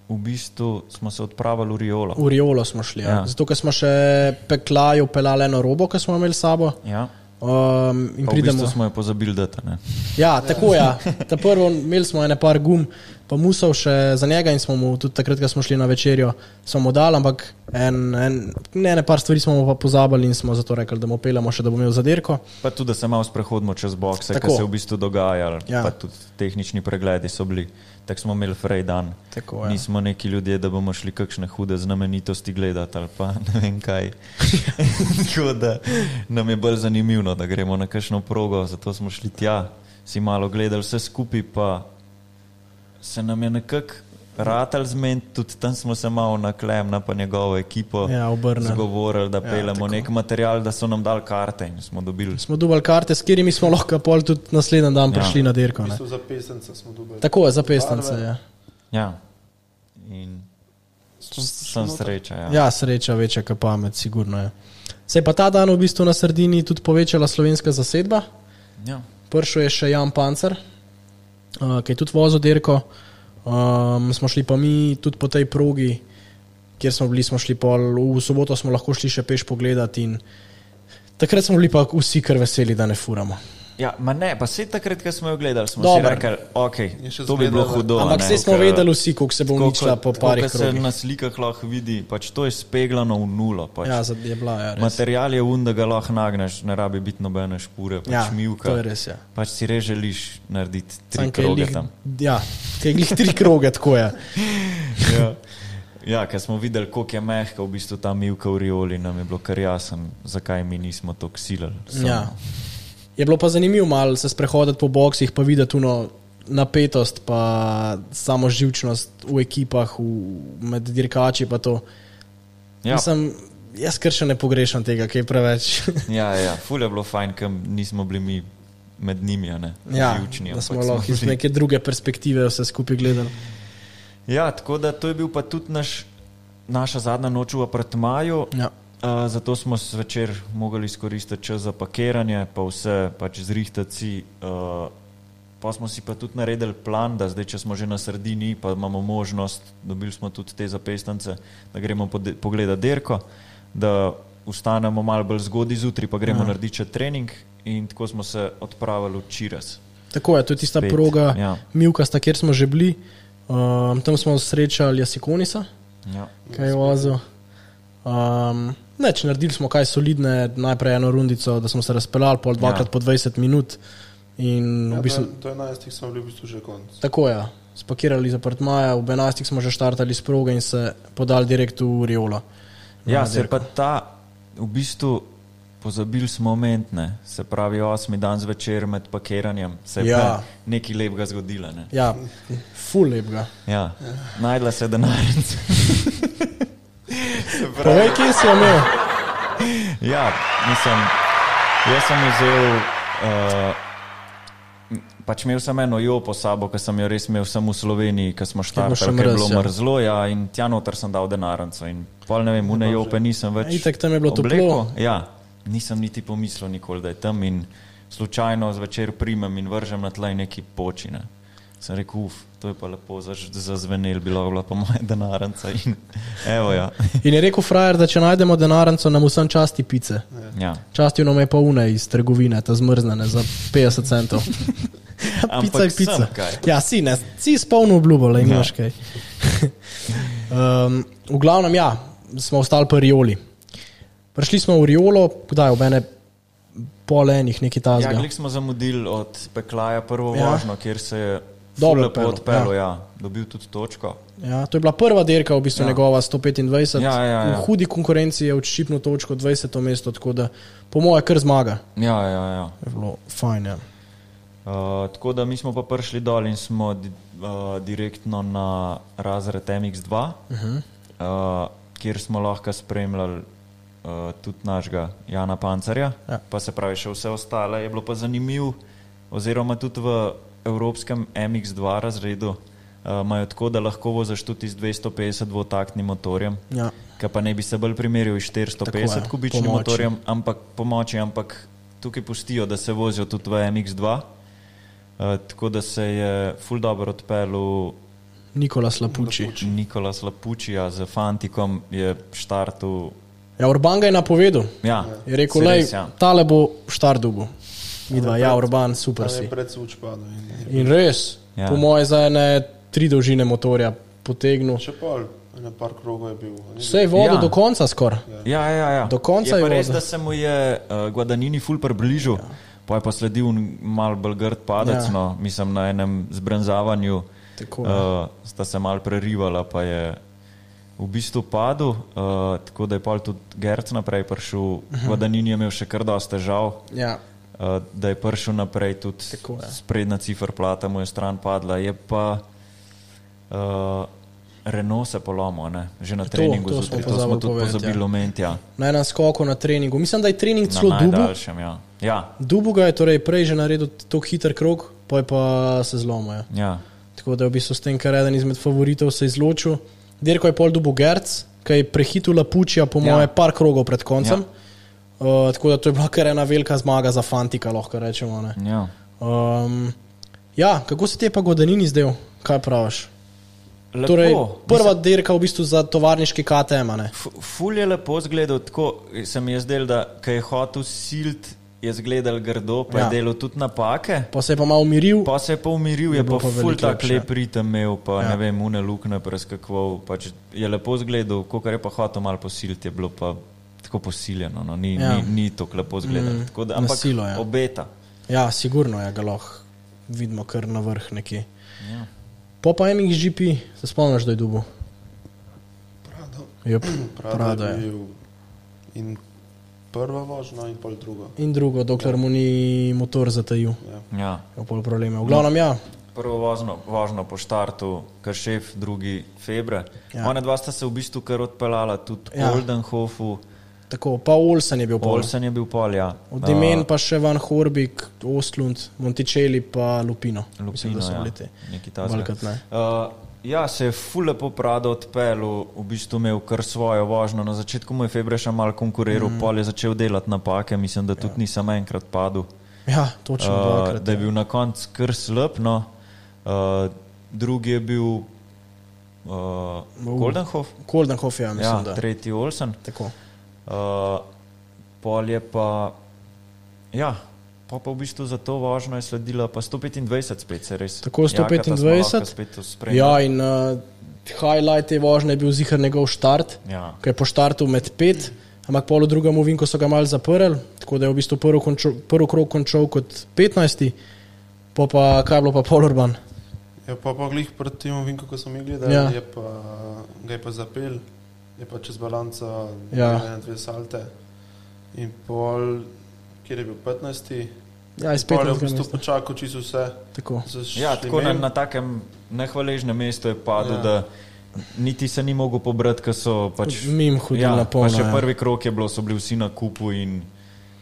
S2: v bistvu smo se odpravili v Riolo.
S3: V Riolo smo šli, ja.
S2: Ja.
S3: Ja. zato ker smo še peklajo pelali eno robo, ki smo jo imeli s sabo.
S2: Ja,
S3: Um, in
S2: pa v bistvu
S3: pridemo.
S2: smo jo pozabili, da ne.
S3: Ja, tako je. Ja. Ta prvo imeli smo ene par gum, pa musel še za njega in smo mu tudi takrat, ko smo šli na večerjo, smo mu dali, ampak en, en, ne, ne par stvari smo mu pa pozabili in smo zato rekli, da mu pelemo še, da bo imel zadirko.
S2: Pa tudi, da se malo sprehodimo čez bokse, kar
S3: Tako.
S2: se je v bistvu dogajalo. Ja.
S3: Ja.
S2: Pa tudi tehnični pregledi so bili. Tako smo imeli frej dan.
S3: Tako,
S2: Ja.
S3: ja.
S2: Nismo neki ljudje, da bomo šli kakšne hude znamenitosti gledati ali pa ne vem
S3: (laughs)
S2: kaj. Tako da nam je bolj zanimivo, da gremo na kakšno progo, zato smo šli tja, si malo gledali vse skupaj, pa se nam je nekako Ratal zmeniti, tudi tam smo se malo naklem na pa njegovo ekipo.
S3: Ja, obrnili.
S2: Zgovorili, da pelemo ja, nek material, da so nam dali karte in smo dobili.
S3: Smo dubali karte, s katerimi smo (laughs) lahko pol tudi naslednji dan
S2: Ja.
S3: prišli ja. na dirko.
S4: V
S3: Ne?
S4: bistvu za pesence smo dobili.
S3: Tako je za pestance.
S4: barve.
S3: Ja.
S2: Ja. In sem sreča. Ja.
S3: ja, sreča večja kot pamet, sigurno je. Se je pa ta dan v bistvu na sredini tudi povečala slovenska zasedba.
S2: Ja.
S3: Pršel je še Jan Pancer, uh, ki je tudi vozil dirko. Um, smo šli pa mi tudi po tej progi, kjer smo bili, smo šli pol, v soboto smo lahko šli še peš pogledat in takrat smo bili pa vsi kar veseli, da ne furamo.
S2: ja, ma ne, pa se takrat, ko smo jo gledali, smo si
S3: Dobro.
S2: rekli,
S4: Je še
S2: okay, to bi bilo
S4: zgledala.
S2: hudo.
S3: Ampak
S2: ne,
S3: vse smo
S2: ker-
S3: vedeli, vsi, koliko se bo
S2: tako
S3: uničila
S2: kot-
S3: po
S2: tako,
S3: parih
S2: kot se
S3: krogih.
S2: na slikah lahko vidi, pač to je speglano v nulo. Pač.
S3: Ja, za- je bila, ja, res.
S2: Material je un, da ga lahko nagneš, ne rabi biti nobene špure, pač
S3: Ja,
S2: mivka.
S3: to je res, ja.
S2: Pač si res želiš narediti tri
S3: Samo, ker je
S2: kroge
S3: glih-
S2: tam.
S3: Ja, te glih tri kroge,
S2: (laughs)
S3: tako je.
S2: Ja, ja ker smo videli, koliko je mehka v bistvu ta mivka v Rioli, nam je bilo kar jasno, zakaj mi nismo to ksilali. Samo-
S3: Ja. Je bilo pa zanimivo malo se sprehoditi po boksih, pa videti uno napetost, pa samo živčnost v ekipah, v, med dirkači. pa to.
S2: ja.
S3: Mislim, jaz kar še ne pogrešam tega, kaj je preveč. (laughs)
S2: ja, ja. ful je bilo fajn, ker nismo bili mi med njimi, a ne
S3: ja,
S2: živčni.
S3: da smo
S2: ampak
S3: lahko iz
S2: bili-
S3: neke druge perspektive vse skupaj gledali.
S2: Ja, tako da to je bil pa tudi naš, naša zadnja noč v apartmaju.
S3: Ja.
S2: Uh, zato smo zvečer mogli izkoristiti čas za pakiranje, pa vse pač zrihtati. Uh, pa smo si pa tudi naredili plan, da zdaj, če smo že na sredini, pa imamo možnost, dobili smo tudi te zapestance, da gremo pode- pogledat derko, da ustanemo malo bolj zgodaj zjutraj, pa gremo ja. narediti še trening. In tako smo se odpravili včeraj.
S3: Tako je, to je tista
S2: Spet,
S3: Spet, proga,
S2: ja.
S3: ja. Mivkasta, kjer smo že bili. Um, tam smo srečali Jasikonisa.
S2: Ja.
S3: kaj je vozil. Um, neč, naredili smo kaj solidne, najprej eno rundico, da smo se razpeljali, pol
S2: Ja.
S3: dvakrat ja. po 20 minut. In
S4: Ja,
S3: v bistvu,
S4: do- Do 11. smo bili v bistvu že konc.
S3: tako je, spakirali iz apartmaja, ob 11 smo že štartali s proge in se podali direkt v Riolo.
S2: Ja,
S3: Na
S2: se je
S3: dirko.
S2: pa ta, v bistvu, pozabili smo moment, ne? se pravi, osmi dan zvečer med pakiranjem se je
S3: Ja.
S2: ja. nekaj lepega zgodilo. Ne?
S3: Ja, ful lepega.
S2: Ja. Najdla se je denarnica. Se pravi-
S3: Povej, kje si jo imel?
S2: ja, mislim, jaz sem vzel. Uh, Pač imel sem eno jo po sabo, ki sem jo res imel samo v Sloveniji, ko smo
S3: bilo še
S2: štartali, ker je
S3: mraz,
S2: bilo
S3: ja.
S2: mrzlo, ja, in tja noter sem dal denarnico. In pol ne vem, une jope nisem več.
S3: Ja, itak tam je bilo toplo.
S2: oblekel. Ja, nisem niti pomislil nikoli, da je tam in slučajno zvečer primem in vržem na tla in neki počine. Sem rekel, uf, to je pa lepo zaž- zazvenel, bilo je bila pa moja denarnica in (laughs) evo ja.
S3: In je rekel frajer, da če najdemo denarnico, nam vsem časti pice.
S2: ja.
S3: Častil nam je pa une iz trgovine, ta zmrznjene za 50 centov. Ja,
S2: (laughs) Ampak
S3: pica je pica.
S2: sem kaj. Ja.
S3: Ja, si, ne, si spolno obljubo, le imaš kaj. (laughs) um, v glavnem, ja, smo ostali pri Rioli. Prišli smo v Riolo, kdaj ob ene pol enih, nekaj
S2: Ja,
S3: tazga.
S2: glej smo zamudili od Peklaja prvo ja.
S3: Ja.
S2: vožnjo, kjer se je
S3: Dobro
S2: Dobro lepo
S3: odpeljal,
S2: odpeljal, ja. ja, dobil tudi točko.
S3: Ja, to je bila prva dirka, v bistvu ja. njegova 125.
S2: Ja, ja, ja.
S3: V hudi konkurenci je odšipnil točko 20. mesto, tako da po moje kar zmaga.
S2: Ja, ja, ja.
S3: Je bilo fajn, ja.
S2: Uh, tako da mi smo pa prišli dol in smo di, uh, direktno na razred MX2, uh -huh. uh, kjer smo lahko spremljali uh, tudi našega Jana Pancerja, ja.
S3: Ja.
S2: pa se pravi še vse ostale. Je bilo pa zanimivo, oziroma tudi v evropskem MX2 razredu uh, imajo tako, da lahko voziš tudi z 250 dvotaktnim motorjem.
S3: ja.
S2: Ki pa ne bi se bolj primeril s 450
S3: Tako je,
S2: kubičnim
S3: pomoči.
S2: motorjem, ampak pomoči, ampak tukaj pustijo, da se vozijo tudi v MX2. Uh, tako da se je full dobro odpeljal
S3: Nikola Slapuči.
S2: Nikola Slapučija z Fantikom, je štartu.
S3: Ja, Urban ga je napovedal.
S2: Ja,
S3: Je rekel,
S2: si
S3: da
S2: res, ja.
S3: ja. tale bo štardubu. Midva, ja, Urban, super
S4: Tam je
S3: si.
S4: pred suč padel. in-
S3: In res,
S2: Ja.
S3: ja. po mojem, za ene tri dolžine motorja potegnil.
S4: Še pol, na par krogov je bil. a ni bil?
S3: Vse je vodo
S2: Ja.
S3: ja. do konca skoraj.
S2: Ja, ja, ja.
S3: Do konca
S2: je pa
S3: je
S2: res,
S3: vozil.
S2: da se mu je uh, Guadagnini ful prebližal, ja. pa je pa sledil en mal bolj grd padec, ja.
S3: Ja.
S2: no, mislim na enem zbrenzavanju.
S3: Tako, ja.
S2: Uh, sta se mal prerivala, pa je v bistvu padel, uh, tako da je pol tudi Gerc naprej prišel. Uh
S3: Mhm.
S2: -huh. Guadagnini je imel še kar dosta težav.
S3: Ja.
S2: Uh, da je prišel naprej tudi
S3: Tako je.
S2: sprednja cifra plata, mu je stran padla. Je pa uh, Renault se polomil, ne? že na
S3: To,
S2: treningu
S3: to smo
S2: zjutraj, to
S3: pozabili
S2: smo tudi
S3: povedati,
S2: pozabili
S3: ja.
S2: omeniti. Ja.
S3: Na enem skoku na treningu. Mislim, da je trening
S2: Na
S3: celo dubu.
S2: najdaljšem, ja. Ja,
S3: Dubu ga je torej prej že naredil tako hiter krok, pa je pa se zlomil. Ja.
S2: ja.
S3: Tako da je v bistvu s tem, kar eden izmed favoritov se je izločil. Dirko je pol dubu Gerc, ki je prehitil Lapučija, po
S2: Ja.
S3: ja. moje, par krogov pred koncem. Ja. Uh, tako da to je bila kar ena velika zmaga za fantika, lahko rečemo. ne.
S2: ja.
S3: Um, ja, kako se ti je pa Godanini zdel, kaj praviš?
S2: Lepo,
S3: Torej,
S2: mislim-
S3: prva dirka v bistvu za tovarniški KTM. a ne?
S2: F- Ful je lepo zgledal, tako se mi je zdelo, da ko je hotel silt, je zgledal grdo, pa ja.
S3: Ja.
S2: je delal tudi napake.
S3: Pa se je pa malo umiril.
S2: Pa se je pa umiril, je
S3: bilo
S2: pa
S3: pa
S2: ful
S3: veliko
S2: tak
S3: lepše.
S2: lep ritem imel, pa ja.
S3: Ja.
S2: ne vem, une lukne preskakoval. Pač je lepo zgledal, ko je pa hotel malo posiliti, je bilo pa tako posiljeno, no. ni, ja.
S3: Ja.
S2: ni, ni tako lepo zgledano.
S3: Mm,
S2: Mm, da,
S3: na
S2: ampak
S3: silo, ja.
S2: obeta.
S3: Ja, sigurno je ga lahko vidimo kar na vrh nekje.
S2: Ja.
S3: Po pa enih GP se spomniš, da je dubo.
S4: Prado.
S3: Yep,
S4: Prado je
S3: bil.
S4: bil in prva vožnja in pol druga.
S3: In drugo, dokler mu ni motor zatajil,
S4: Ja.
S2: Ja.
S3: je pol probleme. V glavnem, ja,
S2: Prvo vožno, vožno po štartu, kar šef, drugi februar. Ja.
S3: Ja.
S2: Ona dva sta se v bistvu kar odpeljala tudi po ja.
S3: Ja.
S2: Goldenhofu.
S3: tako, pa Olsen je bil pol.
S2: Olsen je bil pol, ja.
S3: Od imen pa še Van Horbik, Ostlund, Monticelli pa Lupino.
S2: Eh, Lupino,
S3: Mislim, da so bili te.
S2: ja. Nekaj
S3: Velikrat
S2: takega.
S3: ne.
S2: Uh, ja, se je ful lepo prado odpeljal, v bistvu imel kar svojo vožnjo. Na začetku mu je Febre še malo konkuriral, mm. pol je začel delati napake, mislim, da tudi ja. ni samo enkrat padel.
S3: Ja, točno.
S2: Uh,
S3: Uh,
S2: da je bil na koncu kar slab, no. uh, drugi je bil uh, Goldenhof,
S3: Koldenhof, ja,
S2: ja,
S3: mislim, ja, da.
S2: tretji Olsen.
S3: Tako.
S2: Uh, pol je pa, ja, pa, pa v bistvu za to vožnjo je sledila pa 125, spet se res.
S3: Tako, 125.
S2: spet
S3: Ja,
S2: uspremljala.
S3: in uh, highlight te vožnje je bil zihar njegov štart.
S2: Ja.
S3: ki je po štartu med pet, ampak polo drugemu vinku so ga mal zaprli, tako da je v bistvu prvi, končo, prvi krok končal kot 15, pa pa kaj je bilo pa polorban.
S4: Je Ja, pa pa glih pred tem vinkom, ko smo mi gledali,
S3: Ja.
S4: ja. je pa, ga je pa zapel, je pa čez balanca
S3: Ja.
S4: ja. dve salte. In pol, kjer je bil 15.
S3: Ja, iz
S4: Pol je
S3: 15
S4: v bistvu
S3: mesta.
S4: počakal čisto vse.
S3: Tako.
S4: so šli
S2: ja, tako na,
S4: mem.
S2: na takem nehvaležnem mestu je padel, ja.
S4: Ja.
S2: da niti se ni mogel pobrati, ker so pač.
S3: Mim hodil
S2: ja,
S3: na polno.
S2: Pa še
S3: ja.
S2: prvi krok je bilo, so bili vsi na kupu in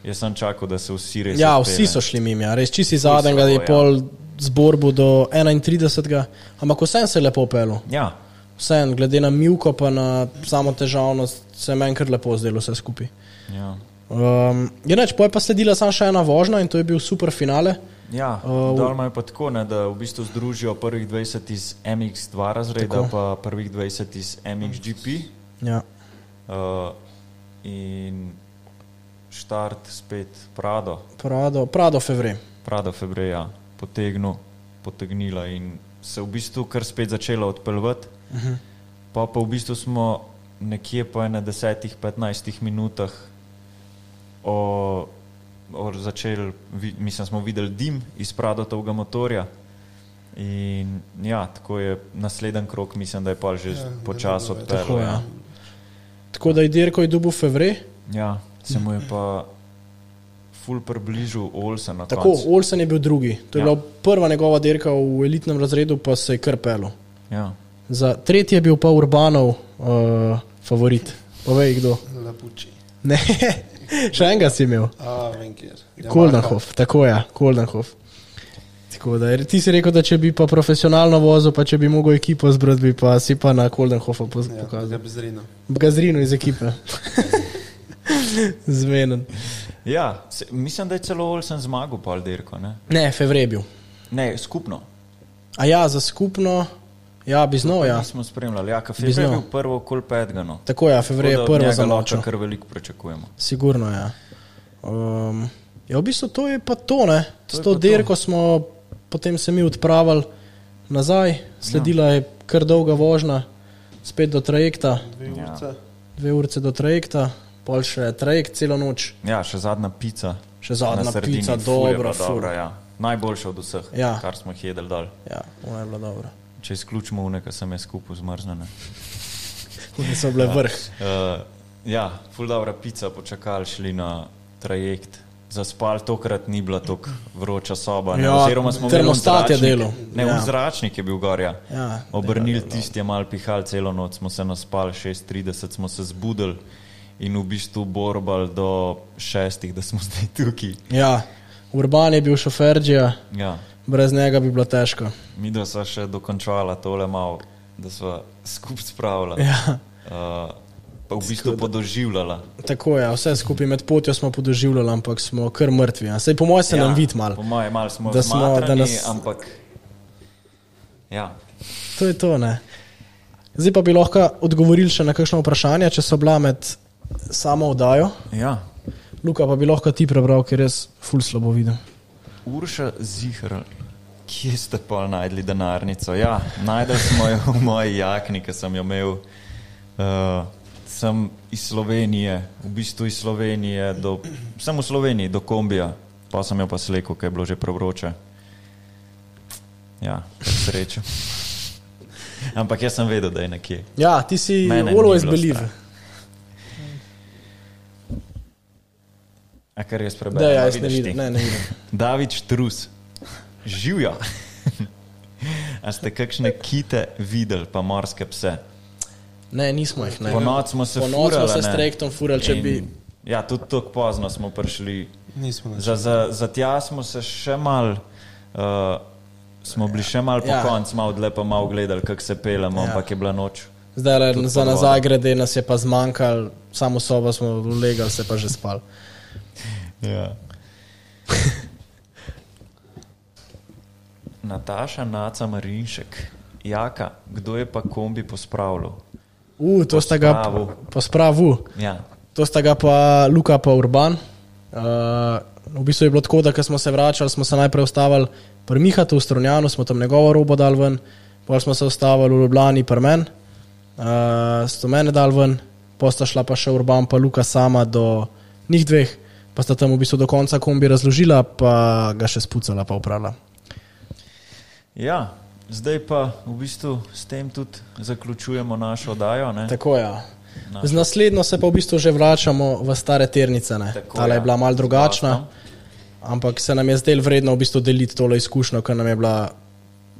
S2: jaz sem čakal, da se vsi res.
S3: Ja,
S2: odpeljejo.
S3: vsi so šli mimo, ja. res čisi
S2: so,
S3: zadnjega je
S2: ja.
S3: pol zborbu do 31, ampak vsem se je lepo pelo.
S2: Ja,
S3: Vsem, glede na mjuko pa na samo težavnost, se je meni kar lepo zdelo vse skupaj.
S2: ja.
S3: Um, je neč, pa je pa sledila samo še ena vožnja in to je bil super finale.
S2: Ja,
S3: Uh,
S2: uh,
S3: v-
S2: dol imajo pa tako, ne, da v bistvu združijo prvih 20 iz MX2 razreda, tako.
S3: Tako.
S2: pa prvih 20 iz MXGP.
S3: Ja.
S2: Uh, in štart spet Prado,
S3: Prado, Prado Fevre.
S2: Prado Febreja potegnil, potegnila in se v bistvu kar spet začela odpeljati. Uh
S4: Mhm.
S2: -huh. Pa pa v bistvu smo nekje po 10-15 minutah o, o začeli, vi- mislim, smo videli dim iz Pradotovega motorja. In ja, tako je naslednji krok, mislim, da je pa že
S4: Ja,
S2: ja,
S4: da
S2: počasi
S4: ne bo več.
S2: odpeljal.
S3: Tako, ja. Tako da je dirko je dubu Fevre.
S2: Ja, se mu je pa ful približal Olsen na
S3: Tako,
S2: koncu.
S3: Olsen je bil drugi. To je
S2: Ja.
S3: ja. bila prva njegova dirka v elitnem razredu, pa se je kar pelo.
S2: Ja.
S3: Za tretji je bil pa Urbanov uh, favorit. Povej kdo.
S4: Labuči.
S3: (laughs) Ne, še enega si imel.
S4: A, vem kjer. Ja, Marko.
S3: Koldenhof, tako ja, Koldenhof. Tako da, jer ti si rekel, da če bi pa profesionalno vozil, pa če bi mogel ekipo zbrati, bi pa si pa na Koldenhofa poz-
S4: Ja,
S3: pokazal.
S4: ga bi zrinil.
S3: Gazrino iz (laughs) ekipe. Zmeden.
S2: Ja, se, mislim, da je celo Olsen zmagal, pa Alderko. Ne?
S3: Ne, Fevre je bil.
S2: ne, skupno.
S3: A ja, za skupno, ja, bi znal, ja.
S2: Smo spremljali, ja, kafe je
S3: Bi znal.
S2: bil prvo, kol pedgano.
S3: Tako je, ja, Fevre je prva za noč.
S2: kar veliko pričakujemo.
S3: Sigurno je. Ja. Um, ja, v bistvu to je pa to, ne.
S2: To
S3: S
S2: je
S3: to
S2: pa to.
S3: dirko smo potem se mi odpravili nazaj, sledila je kar dolga vožnja, spet do trajekta,
S4: Dve
S2: Ja.
S4: urice.
S3: dve urice do trajekta, pol še trajekt celo noč,
S2: Ja, še zadnja pica.
S3: še
S2: na
S3: zadnja
S2: sredini,
S3: pica,
S2: ful je
S3: dobra,
S2: bila dobra
S3: fura.
S2: ja. Najboljša od vseh, ja.
S3: Ja.
S2: kar smo jih jedli dol.
S3: Ja, ona je bila dobra.
S2: Če izključimo une, ki sem jaz skupaj zmrznjena.
S3: Tudi so bile vrh.
S2: Eh, ja, Uh, ja, ful dobra pica, počakali šli na trajekt, zaspali, tokrat ni bila tako vroča soba. Ne?
S3: Ja,
S2: Oziroma smo imeli
S3: termostat je
S2: vzračnik-
S3: delal.
S2: Ne,
S3: Ja.
S2: ja. zračnik je bil gorja.
S3: Ja,
S2: Obrnili tisti je mal pihal celo noč, smo se naspali, 6:30 smo se zbudili in v bistvu borbali do 6, da smo (laughs) zdaj tukaj.
S3: Ja, Urban je bil šoferđija,
S2: Ja.
S3: brez njega bi bilo težko.
S2: Mi dva sva še dokončala tole malo, da sva skupaj spravila.
S3: Ja.
S2: Uh, pa v bistvu podoživljala.
S3: Tako je, vse skupaj med potjo smo podoživljali, ampak smo kar mrtvi. a. Saj po mojem se ja. nam vid
S2: Po
S3: malo.
S2: moje malo smo
S3: Da
S2: da
S3: smo-
S2: zmatrani,
S3: da
S2: smo,
S3: nas-
S2: nas... ampak ja.
S3: To je to, ne. Zdaj pa bi lahko odgovorili še na kakšno vprašanje, če so bila med samo vdajo.
S2: ja.
S3: Luka pa bi lahko ti prebral, ker res ful slabo vidim.
S2: Urša Zihr, kje ste pa najdli denarnico? Ja, najdel smo jo v moji jakni, ki sem jo imel. Uh, sem iz Slovenije, v bistvu iz Slovenije, do, sem v Sloveniji do kombija, pa sem jo pa slekel, ker je bilo že prevroče. Ja,
S3: (laughs)
S2: srečo. Ampak jaz sem vedel, da je nekje.
S3: Ja, ti si
S2: Mene ni
S3: always
S2: bilo
S3: believe.
S2: strah. A kar jaz preberem,
S3: Da, ja,
S2: a
S3: jaz ne
S2: vidiš
S3: vidim.
S2: ti?
S3: Ne, ne vidim.
S2: David Štrus, živijo. A ste kakšne kite videli, pa morske pse?
S3: ne, nismo jih. Ne.
S2: Po noč smo se
S3: Ponoči smo
S2: furali,
S3: se
S2: ne.
S3: s trektom furali, če
S2: In-
S3: bi-
S2: Ja, tudi tako pozno smo prišli.
S4: Nismo več.
S2: Za, za, za tja smo se še mal. Uh, Smo bili še malo po
S3: Ja.
S2: ja. koncu, malo dlje pa malo gledali, kako se pelemo,
S3: Ja.
S2: ja. ampak je bila noč.
S3: Zdaj le
S2: Tudi
S3: za
S2: po
S3: nazaj grede nas je pa zmanjkalo, samo sobo smo ulegali, se pa že spal.
S2: Ja. (laughs) Nataša Naca Marinšek, jaka, kdo je pa kombi pospravljal?
S3: U, to sta ga
S2: spravu.
S3: po spravu,
S2: Ja.
S3: to sta ga pa Luka pa Urban. Uh, v bistvu je bilo tako, da ko smo se vračali, smo se najprej ustavili pri Mihatu v Strunjanu, smo tam njegovo robo dal ven, pol smo se ustavili v Ljubljani pri meni, uh, sto mene dal ven, posta šla pa še Urban pa Luka sama do njih dveh, pa sta tam v bistvu do konca kombi razložila, pa ga še spucala pa upravila.
S2: Ja, zdaj pa v bistvu s tem tudi zaključujemo našo oddajo. ne.
S3: Tako je. Ja. Z naslednjo se pa v bistvu že vračamo v stare ternice.
S2: Tako,
S3: Ta
S2: ja.
S3: ja. je bila mal
S2: Z
S3: drugačna,
S2: gostom.
S3: ampak se nam je zdelo vredno v bistvu deliti tole izkušnjo, ker nam je bila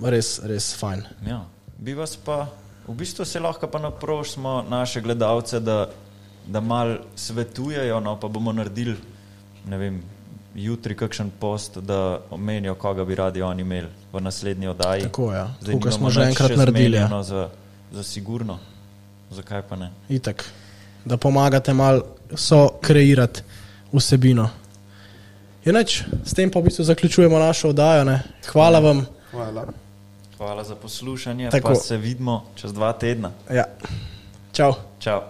S3: res, res fajn.
S2: Ja. Bi vas pa, v bistvu se lahko pa naprošimo naše gledalce, da, da mal svetujejo, no pa bomo naredili, ne vem, jutri kakšen post, da omenijo, koga bi radi oni imeli v naslednji oddaji.
S3: Tako je, ja.
S2: Zdaj
S3: tako kot smo
S2: nimamo
S3: že
S2: nič
S3: enkrat
S2: še
S3: naredili. ja.
S2: zmenjeno Za, za sigurno. Zakaj pa ne?
S3: Itak, da pomagate mal so kreirati vsebino. Je nič, s tem pa v bistvu zaključujemo našo oddajo. Ne. Hvala vam.
S4: Hvala.
S2: Hvala za poslušanje, Tako.
S3: Tako.
S2: pa se vidimo čez dva tedna.
S3: Ja. Čau.
S2: Čau.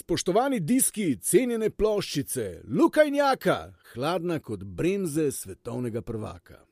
S1: Spoštovani diski, cenjene ploščice, Luka in Jaka, hladna kot bremze svetovnega prvaka.